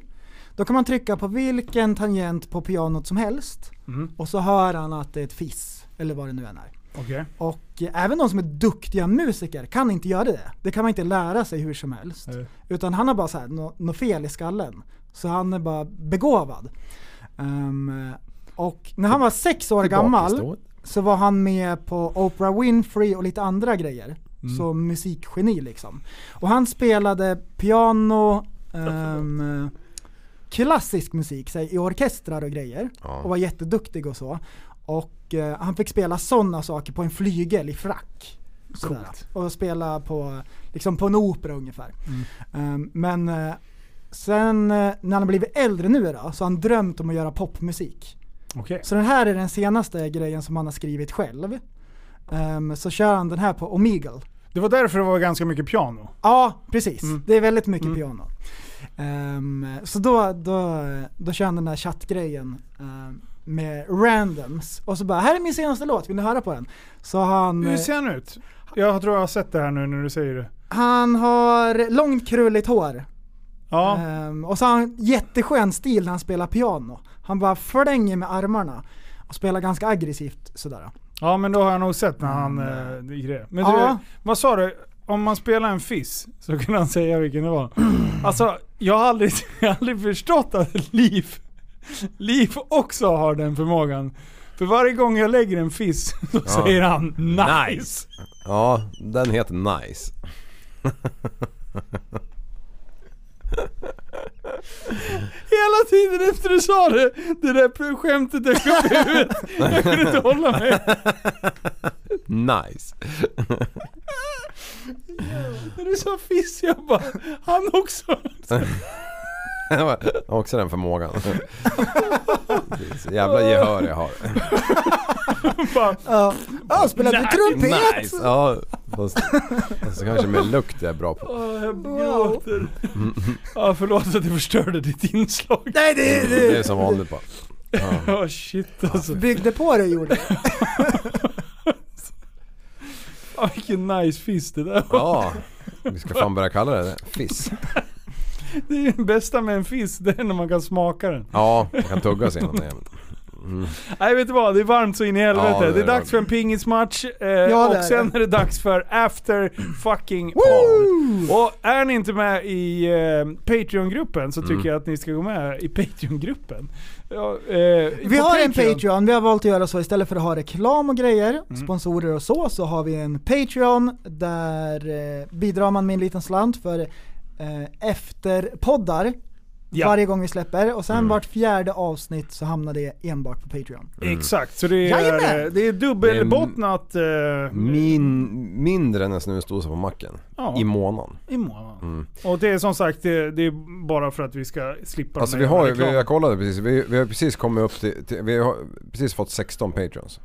Då kan man trycka på vilken tangent på pianot som helst
Mm.
och så hör han att det är ett fiss, eller vad det nu än är.
Okej.
Och eh, även de som är duktiga musiker kan inte göra det. Det kan man inte lära sig hur som helst.
Nej.
Utan han har bara såhär, något nå fel i skallen. Så han är bara begåvad. Ehm, och när han var sex år gammal
Bakåtstående.
så var han med på Oprah Winfrey och lite andra grejer. Som musikgeni liksom. Och han spelade piano, ehm, klassisk musik säg, i orkestrar och grejer.
Ja.
Och var jätteduktig och så. Och eh, han fick spela sådana saker på en flygel i frack. Sådär. Och spela på, liksom på en opera ungefär. Ehm, men eh, sen eh, när han har blivit äldre nu då, så har han drömt om att göra popmusik.
Okej.
Så den här är den senaste grejen som han har skrivit själv. Ehm, så kör han den här på Omegle.
Det var därför det var ganska mycket piano.
Ja, precis.
Mm.
Det är väldigt mycket piano. Ehm, så då, då, då kör han den där chattgrejen ehm, med randoms. Och så bara, här är min senaste låt, vill ni höra på den? Så han,
Hur ser han ut? Jag tror jag har sett det här nu när du säger det.
han har långt krulligt hår.
Ja.
Ehm, och så har han jätteskön stil när han spelar piano. Han bara flänger med armarna och spelar ganska aggressivt sådär.
Ja men då har jag nog sett när han eh, gick det. Men
Ja.
du, vad sa du? Om man spelar en fiss så kan han säga vilken det var. Alltså jag har aldrig, jag har aldrig förstått att Liv, Liv också har den förmågan. För varje gång jag lägger en fiss så säger han nice.
ja den heter Nice.
Hela tiden efter du sa det, det där skämtet dök upp i huvudet. Jag kunde inte hålla mig.
Nice.
När du sa fiss jag bara, han också.
Det var också den förmågan. Precis. Jävla gehör jag har.
Bara,
Ja, ah, spelar du trumpet?
Ja, fast, fast kanske med lukt jag är bra på.
Åh, jag gråter. Ja, förlåt att jag förstörde ditt inslag.
Nej, det,
Det är som vanligt bara.
Ja, shit alltså.
byggde på det gjorde det.
Ja, vilken nice fisk det där var.
Ja, vi ska fan börja kalla det det. Fiss.
Det är ju det bästa med en fisk, det är när man kan smaka den.
Ja, man kan tugga sig igenom det.
Nej vet du vad, det är varmt så in i helvete.
Ja, det
det,
är
är dags
varmt.
för en pingismatch eh, och
det är
sen
det.
är det dags för after fucking podd. Och är ni inte med i eh, Patreon-gruppen så tycker
Mm.
jag att ni ska gå med i Patreon-gruppen. Ja, eh,
Vi
på
har en Patreon, vi har valt att göra så istället för att ha reklam och grejer,
Mm.
sponsorer och så, så har vi en Patreon där eh, bidrar man med en liten slant för eh, efterpoddar
Ja. Mm.
varje gång vi släpper och sen vart fjärde avsnitt så hamnar det enbart på Patreon.
Mm.
Exakt, så det är, eh,
Jajamän!
det är dubbelbottnat eh,
Min, mindre än en snusdosa på macken.
Ja.
I månaden. Mm.
i månaden. Och det är som sagt, det, det är bara för att vi ska slippa
Alltså
de
vi
här
har ju,
jävla
vi-
reklamen.
jag kollade precis, vi, vi har precis kommit upp till, till vi har precis fått 16 patreons.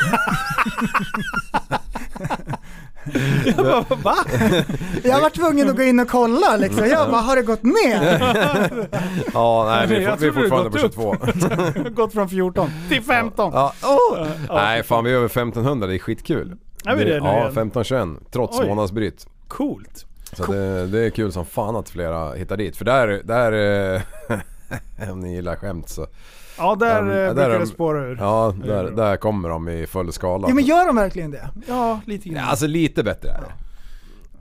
Va?
Jag var tvungen att gå in och kolla liksom, jag bara har det gått ner?
Ja, nej vi, är
Jag
fort- vi är
tror det
fortfarande på
gått upp.
22.
Gått från 14 till 15.
Ja, åh! Nej fan vi är över 1500, det är skitkul.
Är vi det nu
Ja,
igen?
1521 trots
Oj.
månadsbryt.
Coolt.
Så det, det är kul som fan att flera hittar dit. För där, där eh, om ni gillar skämt så.
Ja, där
Ja,
um,
men- ja,
brukar
där är
det
de-
spåra ur.
Ja,
Det är
där,
bra.
där kommer de i full skala.
Ja men gör de verkligen det?
Ja, lite grann.
Ja, Alltså lite bättre är det.
Om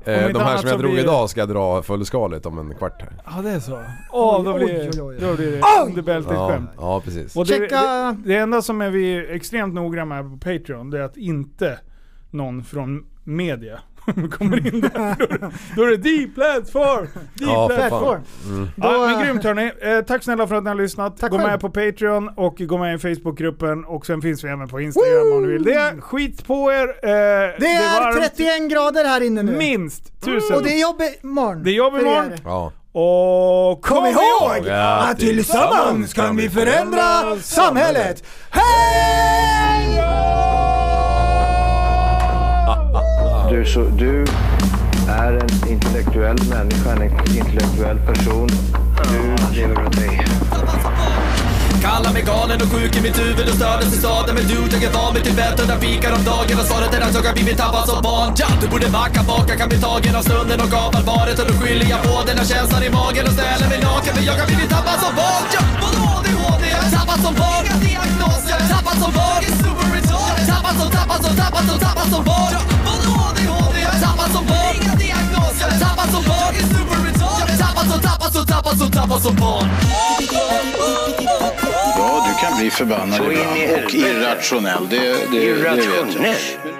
Eh,
inte
De här
annat
som jag
så
drog
blir-
idag ska jag dra fullskaligt om en kvart här.
Ja det är så. Åh, då
Oj,
blir
oj, oj, oj.
det, då blir det under bältet
Ja,
skämt.
ja precis.
Och det,
Checka-
det, det enda som är vi är extremt noga med på Patreon, det är att inte någon från media kommer in där. Då är det- Då är det deep platform! Deep
Ja, för fan.
platform!
Platform.
Ja,
Då,
men
eh,
grymt hörni. Eh, tack snälla för att ni har lyssnat.
Tack
gå
själv.
med på Patreon och gå med i Facebookgruppen och sen finns vi även på Instagram om ni vill det. Skit på er! Eh, det
Det
är
är
varmt.
31 grader här inne nu.
Minst tusen.
Och det är jobb imorgon.
Det är jobb
För er.
imorgon.
Ja.
Och kom, ihåg!
att tillsammans kan vi
förändra samhället. Hej!
Du, är så, du är en intellektuell människa, en intellektuell person. Du lever av dig.
Kallar mig galen och sjuk i mitt huvud och stördes i staden Men du, jag är van vid Tibet och där fikar om dagen Och svaret är att jag har blivit tappad som barn ja, Du borde backa bak, jag kan bli tagen av stunden och av allvaret Och då skyller jag på den här känslan i magen och ställer mig naken För jag har blivit tappad som barn ja, Vadå ADHD? Jag är tappad som barn Inga diagnoser Tappad som barn är super retard Tappad som, tappad som, tappad som, tappad som barn ja, Vadå ADHD? Jag är tappad som barn Inga diagnoser Tappad som barn är super retard Tappad som, tappad som, tappad som, tappad som barn
Ja, du kan bli förbannad ibland och irrationell. Det, det, det vet jag.